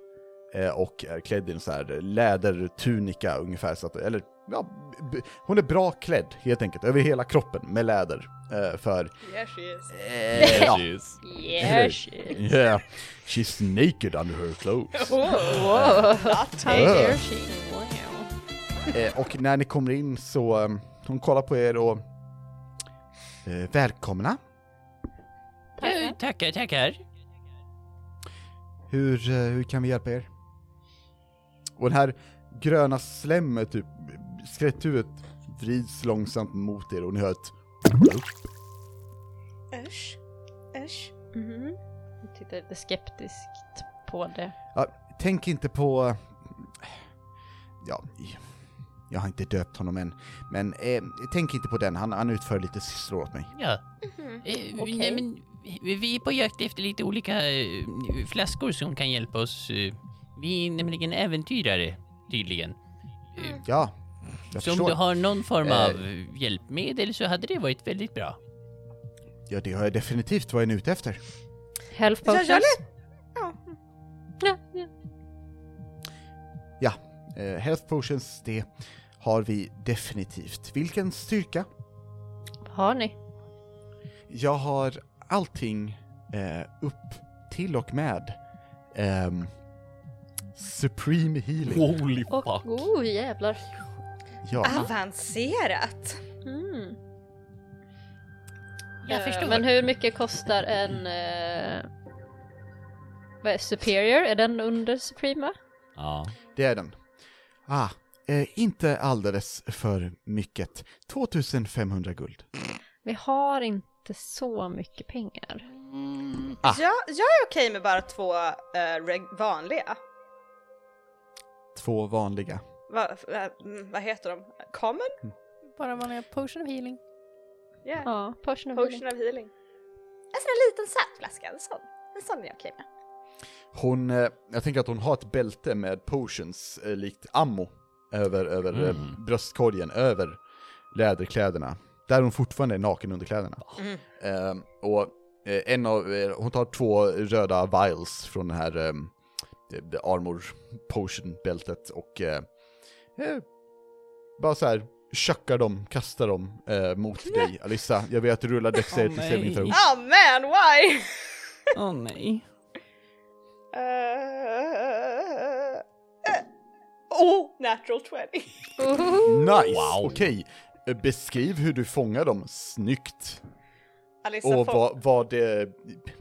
S1: eh, och är klädd i en så här lädertunika ungefär. Så att, eller, ja, b- hon är bra klädd helt enkelt, över hela kroppen med läder. Eh, för...
S2: Yeah she is.
S1: Eh, ja.
S8: Jeez.
S1: Yeah, Yeah, she's naked under her clothes.
S3: Wow.
S1: Eh, eh, och när ni kommer in så, eh, hon kollar på er och... Eh, välkomna.
S7: Ja, tackar, tackar.
S1: Hur, eh, hur kan vi hjälpa er? Och det här gröna slemmet, typ, skeletthuvudet vrids långsamt mot er och ni hör ett...
S6: Usch. Usch.
S3: Mhm. Jag tittar lite skeptiskt på det.
S1: Ja, tänk inte på... Ja, jag har inte döpt honom än. Men eh, tänk inte på den, han, han utför lite sysslor åt mig.
S7: Ja. Eh, nej, men, vi- vi är på jakt efter lite olika eh, flaskor som kan hjälpa oss. eh. Vi är nämligen äventyrare, tydligen. Eh,
S1: Ja, jag
S7: Så om
S1: förstår.
S7: du har någon form
S1: Eh.
S7: av hjälpmedel så hade det varit väldigt bra.
S1: Ja, det har jag definitivt varit ute efter.
S3: Health
S6: Jag
S3: potions.
S6: gör
S3: Ja.
S6: Ja.
S3: ja.
S1: Eh, health potions, det har vi definitivt. Vilken styrka?
S3: Vad har ni?
S1: Jag har allting eh, upp till och med ehm, Supreme healing.
S8: Holy
S3: Och,
S8: fuck.
S3: oh jävlar.
S1: Ja,
S6: Avancerat.
S3: Mm.
S7: Jag
S3: Eh,
S7: förstår.
S3: Men hur mycket kostar en... Eh, vad är superior? Är den under suprema?
S8: Ja.
S1: det är den. Ah, eh, inte alldeles för mycket. 2500 guld.
S3: Vi har inte så mycket pengar.
S1: Ah.
S2: Jag, jag är okej med bara två eh, reg- vanliga.
S1: Två vanliga.
S2: Va, eh, mm, vad heter de? Common?
S5: Bara vanliga potion of healing.
S2: Yeah.
S3: Ja, potion of
S2: Potion
S3: healing.
S2: of healing.
S6: Mm. En sån där liten söt flaska. En sån. En sån är jag okej med.
S1: Hon, eh, jag tänker att hon har ett bälte med potions, eh, likt ammo, över, över eh,
S8: Mm.
S1: bröstkorgen, över läderkläderna. Där hon fortfarande är naken under kläderna. Ehm, och eh, en av, eh, hon tar två röda vials från det här ehm, det, det armor potion-bältet och eh, eh, bara så här chuckar dem, kastar dem eh, mot dig, Alissa. Jag vet att du rullar Dexterity
S8: Åh,
S1: oh, saving
S8: nej.
S1: throw.
S2: Oh man, why?
S8: Åh nej.
S2: Eh, eh, oh, natural 20.
S1: Nice! Okej, Eh, beskriv hur du fångar dem snyggt
S2: Alissa
S1: och
S2: får-
S1: vad, vad det,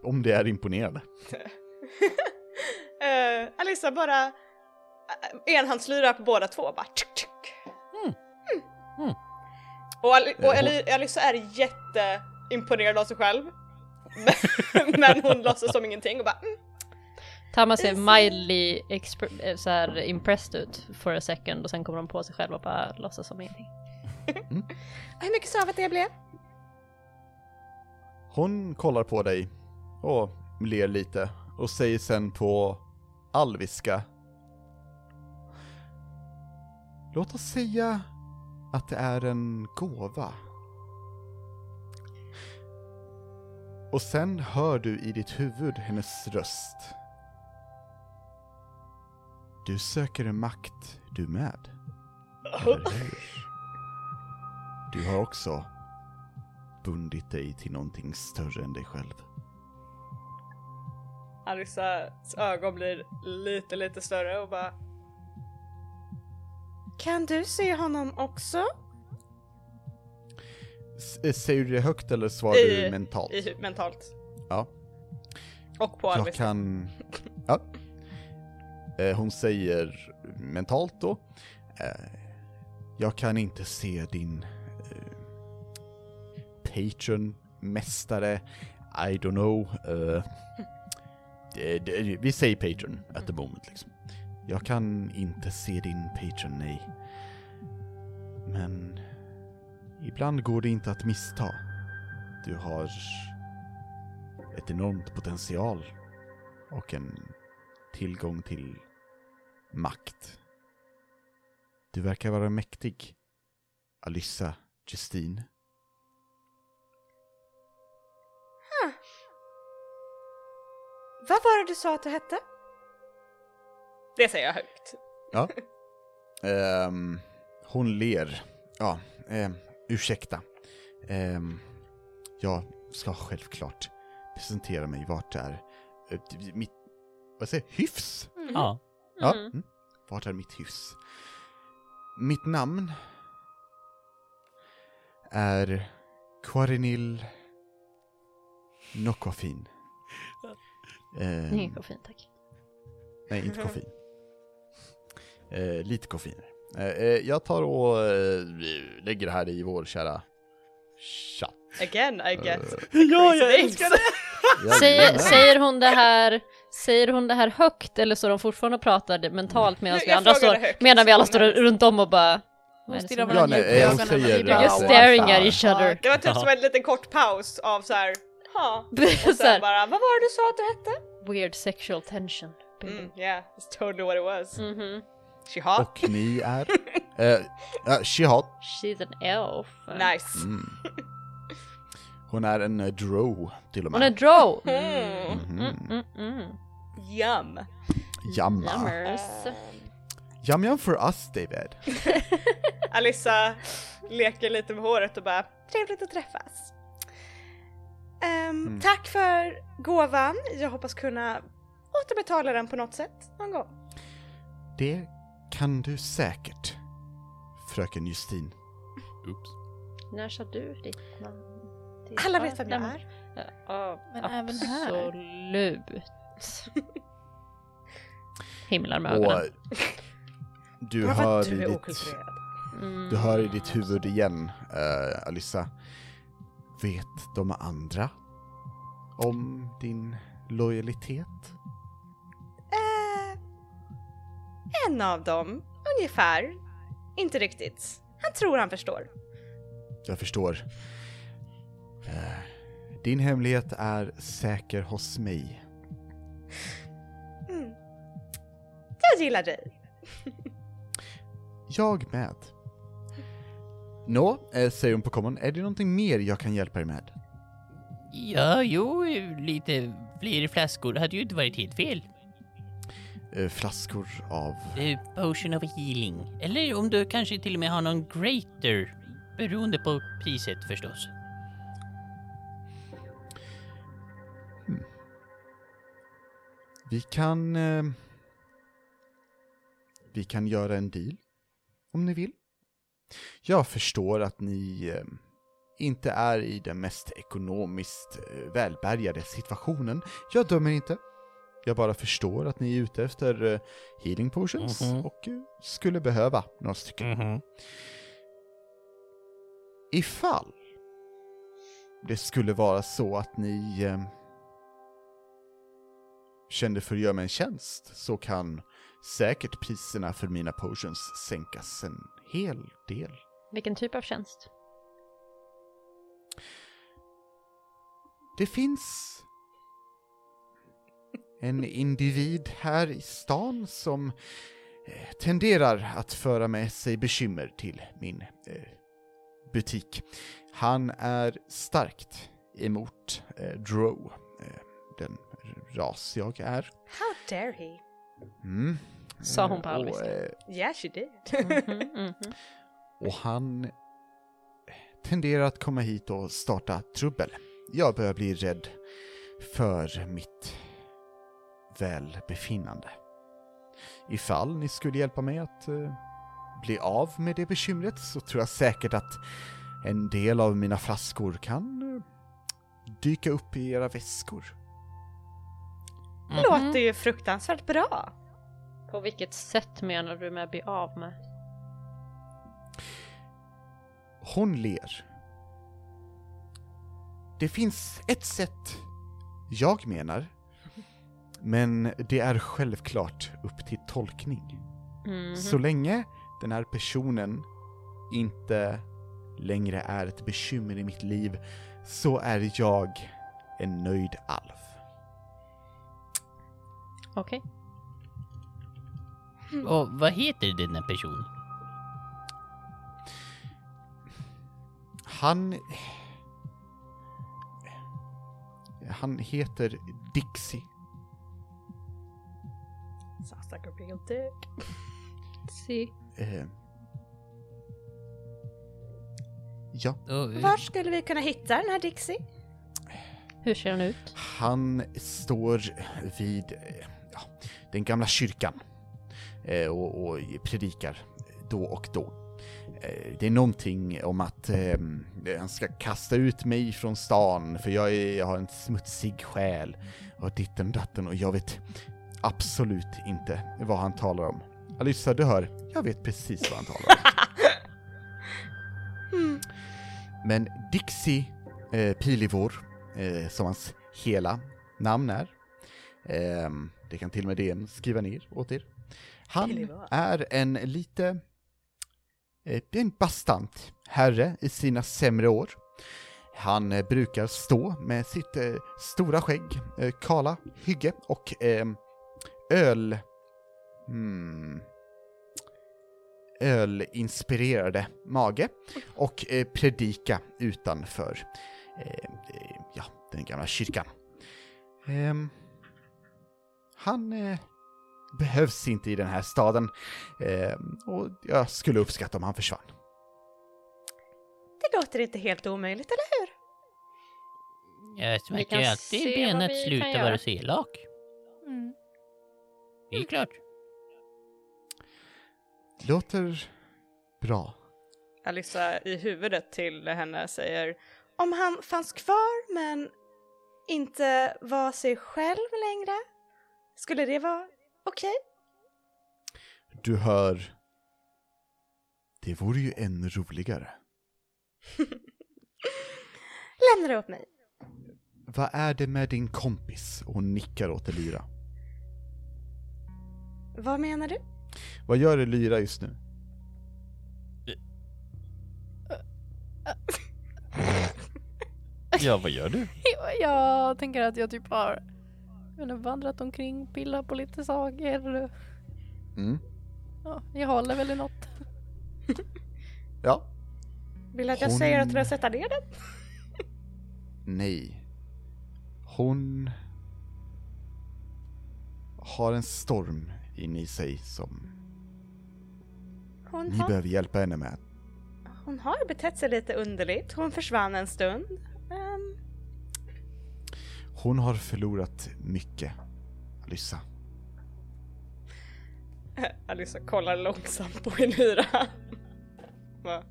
S1: om det är imponerande.
S2: Eh, Alissa bara eh, enhandslyra på båda två bara. Tsk, tsk.
S1: Mm.
S2: Mm.
S1: Eh,
S2: Och, Al- och Ali- Alissa är jätteimponerad av sig själv. Men hon låtsas som ingenting och bara mm.
S3: Tama ser mildly expr- eh, så här impressed ut for a second och sen kommer de på sig själva och bara låtsas som ingenting.
S2: Hur mycket sövet det blev?
S1: Hon kollar på dig och ler lite och säger sen på alviska. Låt oss säga att det är en gåva. Och sen hör du i ditt huvud hennes röst. Du söker en makt du med. Eller hur? Du har också bundit dig till någonting större än dig själv.
S2: Alissas ögon blir lite, lite större och bara
S6: Kan du se honom också?
S1: S- eh, säger du det högt eller svarar du
S2: I-
S1: mentalt?
S2: i, mentalt.
S1: Ja.
S2: Och på
S1: Jag
S2: alviska.
S1: kan... Ja. Eh, Hon säger mentalt då. eh, Jag kan inte se din eh, patron, mästare, I don't know. eh, det- det- Vi säger patron at the moment liksom. Jag kan inte se din patron, nej. Men ibland går det inte att missta. Du har ett enormt potential och en tillgång till makt. Du verkar vara mäktig, Alyssa Justine.
S6: Vad var det du sa att du hette?
S2: Det säger jag högt.
S1: Ja. Ehm, hon ler. Ja, ehm, ursäkta. Ehm, jag ska självklart presentera mig vart är eh, mitt, vad säger jag? hyfs?
S8: Ja.
S1: Ja. Mm. Vart är mitt hyfs? Mitt namn är Quarinil Nokofin. Ehm,
S3: Mm. fint tack.
S1: nej, inte koffein. Eh, lite koffein. Eh, eh, jag tar och eh, lägger det här i vår kära chatt.
S2: Again
S1: Eh.
S2: I get
S8: ja,
S2: jag älskar det!
S3: Säger,
S1: Jajamän.
S3: säger, hon det här, säger hon det här högt eller så de fortfarande och pratar det mentalt medan
S2: Jag-
S3: vi
S2: jag
S3: andra
S2: frågar
S3: står,
S2: det högt.
S3: medan vi alla står runt om och bara... Vad är
S5: Hon
S3: det
S5: stirrar
S3: som-
S1: Ja,
S5: varandra
S1: nej,
S5: djupt i
S1: eh, hon
S5: ögonen. men
S1: säger
S5: vi
S1: det.
S5: bara,
S3: You're
S1: Just
S5: "Wow."
S3: staring at each other.
S2: Det var typ som en liten kort paus av så här. ha. Och
S3: Så här,
S2: sen bara, vad var det du sa att du hette?
S3: Weird sexual tension.
S2: Mm, yeah, that's totally what it was.
S3: Mhm.
S2: She hot?
S1: Och ni är... Eh, ja, Shihat.
S3: She's an elf.
S2: Nice.
S1: Mm. Hon är en eh, drow till och med.
S3: Hon är drow!
S2: Mm.
S1: Mhm.
S3: Mm, mm, mm.
S2: Yum. Eh,
S1: Jamma.
S3: Yummers.
S1: Jam jam for us David.
S2: Alissa leker lite med håret och bara,
S6: Trevligt att träffas. Ehm,
S1: Mm.
S6: Tack för gåvan. Jag hoppas kunna återbetala den på något sätt någon gång.
S1: Det kan du säkert, fröken Justin.
S8: Oops.
S3: När sa du ditt namn? Ditt
S6: Alla vet vem jag
S3: namn?
S6: är.
S3: Ja,
S5: Men även här.
S3: absolut. Himlar med
S1: Och
S3: ögonen.
S1: du
S2: "Vad var
S1: hör,
S2: du
S1: i
S2: är
S1: ditt,
S2: okulturerad.
S3: Mm.
S1: du hör i ditt huvud igen, eh, Alyssa. Vet de andra om din lojalitet?
S6: Eh, en av dem, ungefär. Inte riktigt. Han tror han förstår.
S1: Jag förstår. Eh, Din hemlighet är säker hos mig.
S6: Mm. Jag gillar dig.
S1: Jag med. Nå, eh, säger hon på common, är det någonting mer jag kan hjälpa er med?
S7: Ja, jo, lite fler flaskor hade ju inte varit helt fel.
S1: Eh, flaskor av...
S7: Eh, Potion of healing. Eller om du kanske till och med har någon greater. Beroende på priset förstås.
S1: Vi kan... Eh, vi kan göra en deal, om ni vill. Jag förstår att ni eh, inte är i den mest ekonomiskt eh, välbärgade situationen. Jag dömer inte. Jag bara förstår att ni är ute efter eh, healing potions
S8: Mhm.
S1: och eh, skulle behöva några
S4: Mhm.
S1: stycken. Ifall det skulle vara så att ni eh, kände för att göra mig en tjänst så kan säkert priserna för mina potions sänkas en hel del.
S3: Vilken typ av tjänst?
S1: Det finns en individ här i stan som eh, tenderar att föra med sig bekymmer till min eh, butik. Han är starkt emot eh, Drow, eh, den ras jag är.
S6: How dare he?
S1: Mm.
S3: Sa
S1: Eh,
S3: hon på
S1: och,
S3: Alvis.
S1: eh,
S6: Yeah, she did.
S3: Mhm, mhm.
S1: och han eh, tenderar att komma hit och starta trubbel. Jag börjar bli rädd för mitt välbefinnande. Ifall ni skulle hjälpa mig att eh, bli av med det bekymret så tror jag säkert att en del av mina flaskor kan eh, dyka upp i era väskor.
S6: Det låter ju fruktansvärt bra.
S3: På vilket sätt menar du med bli av med?
S1: Hon ler. Det finns ett sätt jag menar, men det är självklart upp till tolkning.
S3: Mhm.
S1: Så länge den här personen inte längre är ett bekymmer i mitt liv så är jag en nöjd alv.
S3: Okej.
S7: Och vad heter denna person?
S1: Han... Han heter Dixie.
S2: Sounds like a real dick.
S3: Si.
S1: Eh, ja,
S7: Och, eh,
S6: Var skulle vi kunna hitta den här Dixie?
S3: Hur ser han ut?
S1: han står vid eh, ja, den gamla kyrkan eh, och, och predikar då och då. Eh, Det är någonting om att eh, han ska kasta ut mig från stan för jag, är, jag har en smutsig själ och ditten och datten och jag vet absolut inte vad han talar om. Alyssa, du hör, jag vet precis vad han talar om. Men Dixie eh, Pilivor, eh, som hans hela namn är, ehm, det kan till och med DN skriva ner åt er. Han
S2: Pilivor.
S1: är en lite, eh, det är en bastant herre i sina sämre år. Han eh, brukar stå med sitt eh, stora skägg, eh, kala hygge och ehm, öl... Hmm, ölinspirerade mage och eh, predika utanför eh, eh, ja, den gamla kyrkan. Ehm, han eh, behövs inte i den här staden ehm, och jag skulle uppskatta om han försvann.
S6: Det låter inte helt omöjligt, eller hur?
S7: eh, Jag
S3: kan
S7: smäcker alltid
S3: se
S7: i
S3: vad
S7: benet,
S3: vi kan
S7: sluta
S3: göra.
S7: vara så elak.
S5: Mm.
S7: Det är klart.
S1: Låter bra.
S2: Alyssa i huvudet till henne säger
S6: Om han fanns kvar men inte var sig själv längre, skulle det vara okej?
S1: Du hör... Det vore ju ännu roligare.
S6: Lämna det åt mig.
S1: Vad är det med din kompis? Och hon nickar åt Elira.
S6: Vad menar du?
S1: Vad gör Elira just nu?
S4: Ja, vad gör du?
S5: Jag- Jag tänker att jag typ har jag har vandrat omkring, pillat på lite saker.
S1: Mm.
S5: Ja, jag håller väl i något.
S1: Ja.
S6: Vill du att jag
S1: Hon-
S6: säger att du ska sätta ner den?
S1: Nej. Hon har en storm in i sig som
S6: Hon
S1: ni
S6: har,
S1: behöver hjälpa henne med.
S6: hon har betett sig lite underligt. Hon försvann en stund. Ehm,
S1: Hon har förlorat mycket, Alyssa.
S2: Alyssa kollar långsamt på Elira. Va?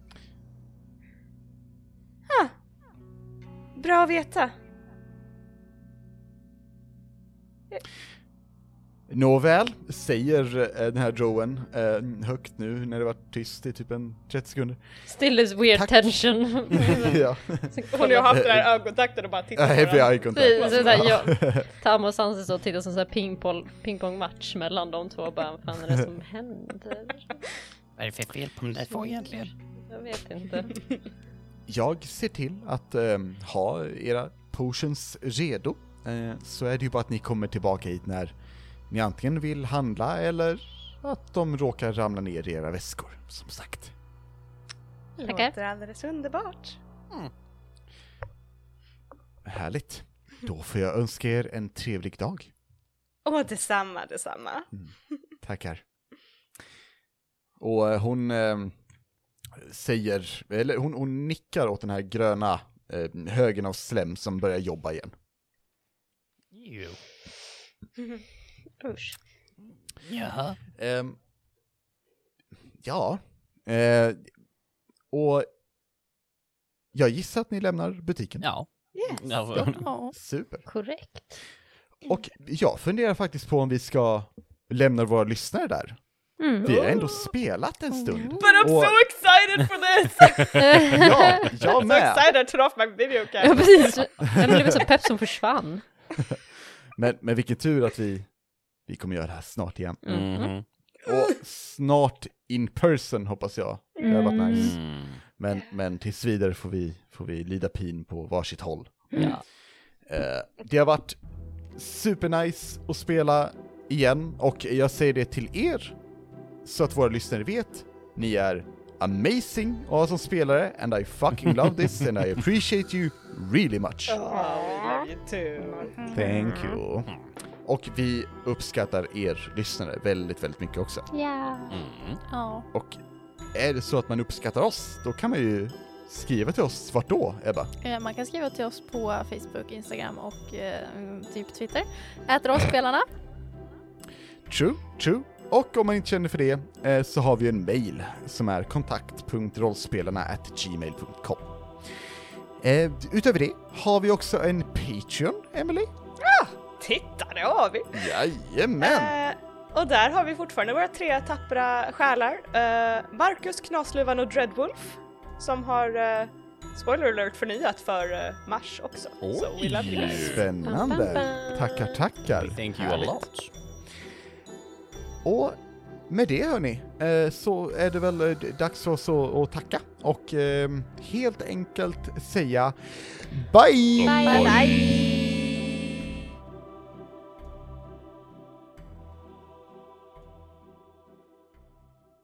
S6: bra att veta.
S1: Nåväl, säger eh, den här Joen eh, högt nu när det var tyst i typ en 30 sekunder.
S3: Still is weird
S1: Tack.
S3: tension.
S1: ja,
S2: Hon har haft den här ögonkontakten och bara tittat på
S1: happy
S2: den.
S1: eye
S3: Precis,
S1: contact.
S3: så såhär, jag, Tamo och Sansi står och tittar som såhär pingpong, pingpongmatch mellan de två och bara vad fan är det som händer?
S7: Vad är det för fel på de där två egentligen?
S3: Jag vet inte.
S1: Jag ser till att ehm, ha era potions redo. Eh, så är det ju bara att ni kommer tillbaka hit när ni antingen vill handla eller att de råkar ramla ner i era väskor, som sagt.
S3: Tackar.
S6: Låter alldeles underbart.
S1: Härligt. Då får jag önska er en trevlig dag.
S6: Åh, detsamma, detsamma.
S1: Mm. Tackar. Och eh, hon eh, säger, eller hon, hon nickar åt den här gröna eh, högen av slem som börjar jobba igen.
S7: Jo.
S3: Usch.
S7: Jaha.
S1: Ehm, ja. Eh, och jag gissar att ni lämnar butiken.
S7: Ja.
S6: Yes.
S7: Ja,
S5: Ja.
S1: Super.
S3: Korrekt.
S1: Och jag funderar faktiskt på om vi ska lämna våra lyssnare där.
S3: Mm.
S1: Vi har ändå spelat en stund.
S2: But I'm
S1: Och-
S2: so excited for this!
S1: Ja, jag
S2: I'm so
S1: med.
S2: excited I turn off my video
S3: Ja
S2: cam!
S3: precis, jag blev så pepp som försvann.
S1: Men, men vilken tur att vi, vi kommer göra det här snart igen.
S8: Mhm.
S1: Och snart in person hoppas jag. Det hade varit
S8: Mm.
S1: nice.
S8: Mhm.
S1: Men, men tills vidare får vi, får vi lida pin på varsitt håll.
S7: Ja.
S1: Eh, det har varit supernice att spela igen och jag säger det till er så att våra lyssnare vet. Ni är amazing att ha som spelare and I fucking love this and I appreciate you really much.
S2: Oh, we love you too.
S1: Thank you. Och vi uppskattar er lyssnare väldigt, väldigt mycket också.
S5: ja.
S1: Och är det så att man uppskattar oss, då kan man ju skriva till oss. Vart då, Ebba?
S5: Eh, Man kan skriva till oss på Facebook, Instagram och eh, typ Twitter. Äter oss spelarna.
S1: True, true. Och om man inte känner för det eh, så har vi en mail som är kontakt.rollspelarna.gmail.com eh, Utöver det har vi också en Patreon, Emily.
S2: Titta, det har vi!
S1: Jajamän!
S2: Eh, och där har vi fortfarande våra tre tappra själar. Eh, Marcus, Knasluvan och Dreadwolf som har, eh, spoiler alert, förnyat för eh, Mars också. Så we love you guys.
S1: Spännande! Tackar, tackar!
S8: Thank you a lot.
S1: Och med det hörni, eh, så är det väl eh, dags för oss att, att tacka och eh, helt enkelt säga bye!
S3: Bye.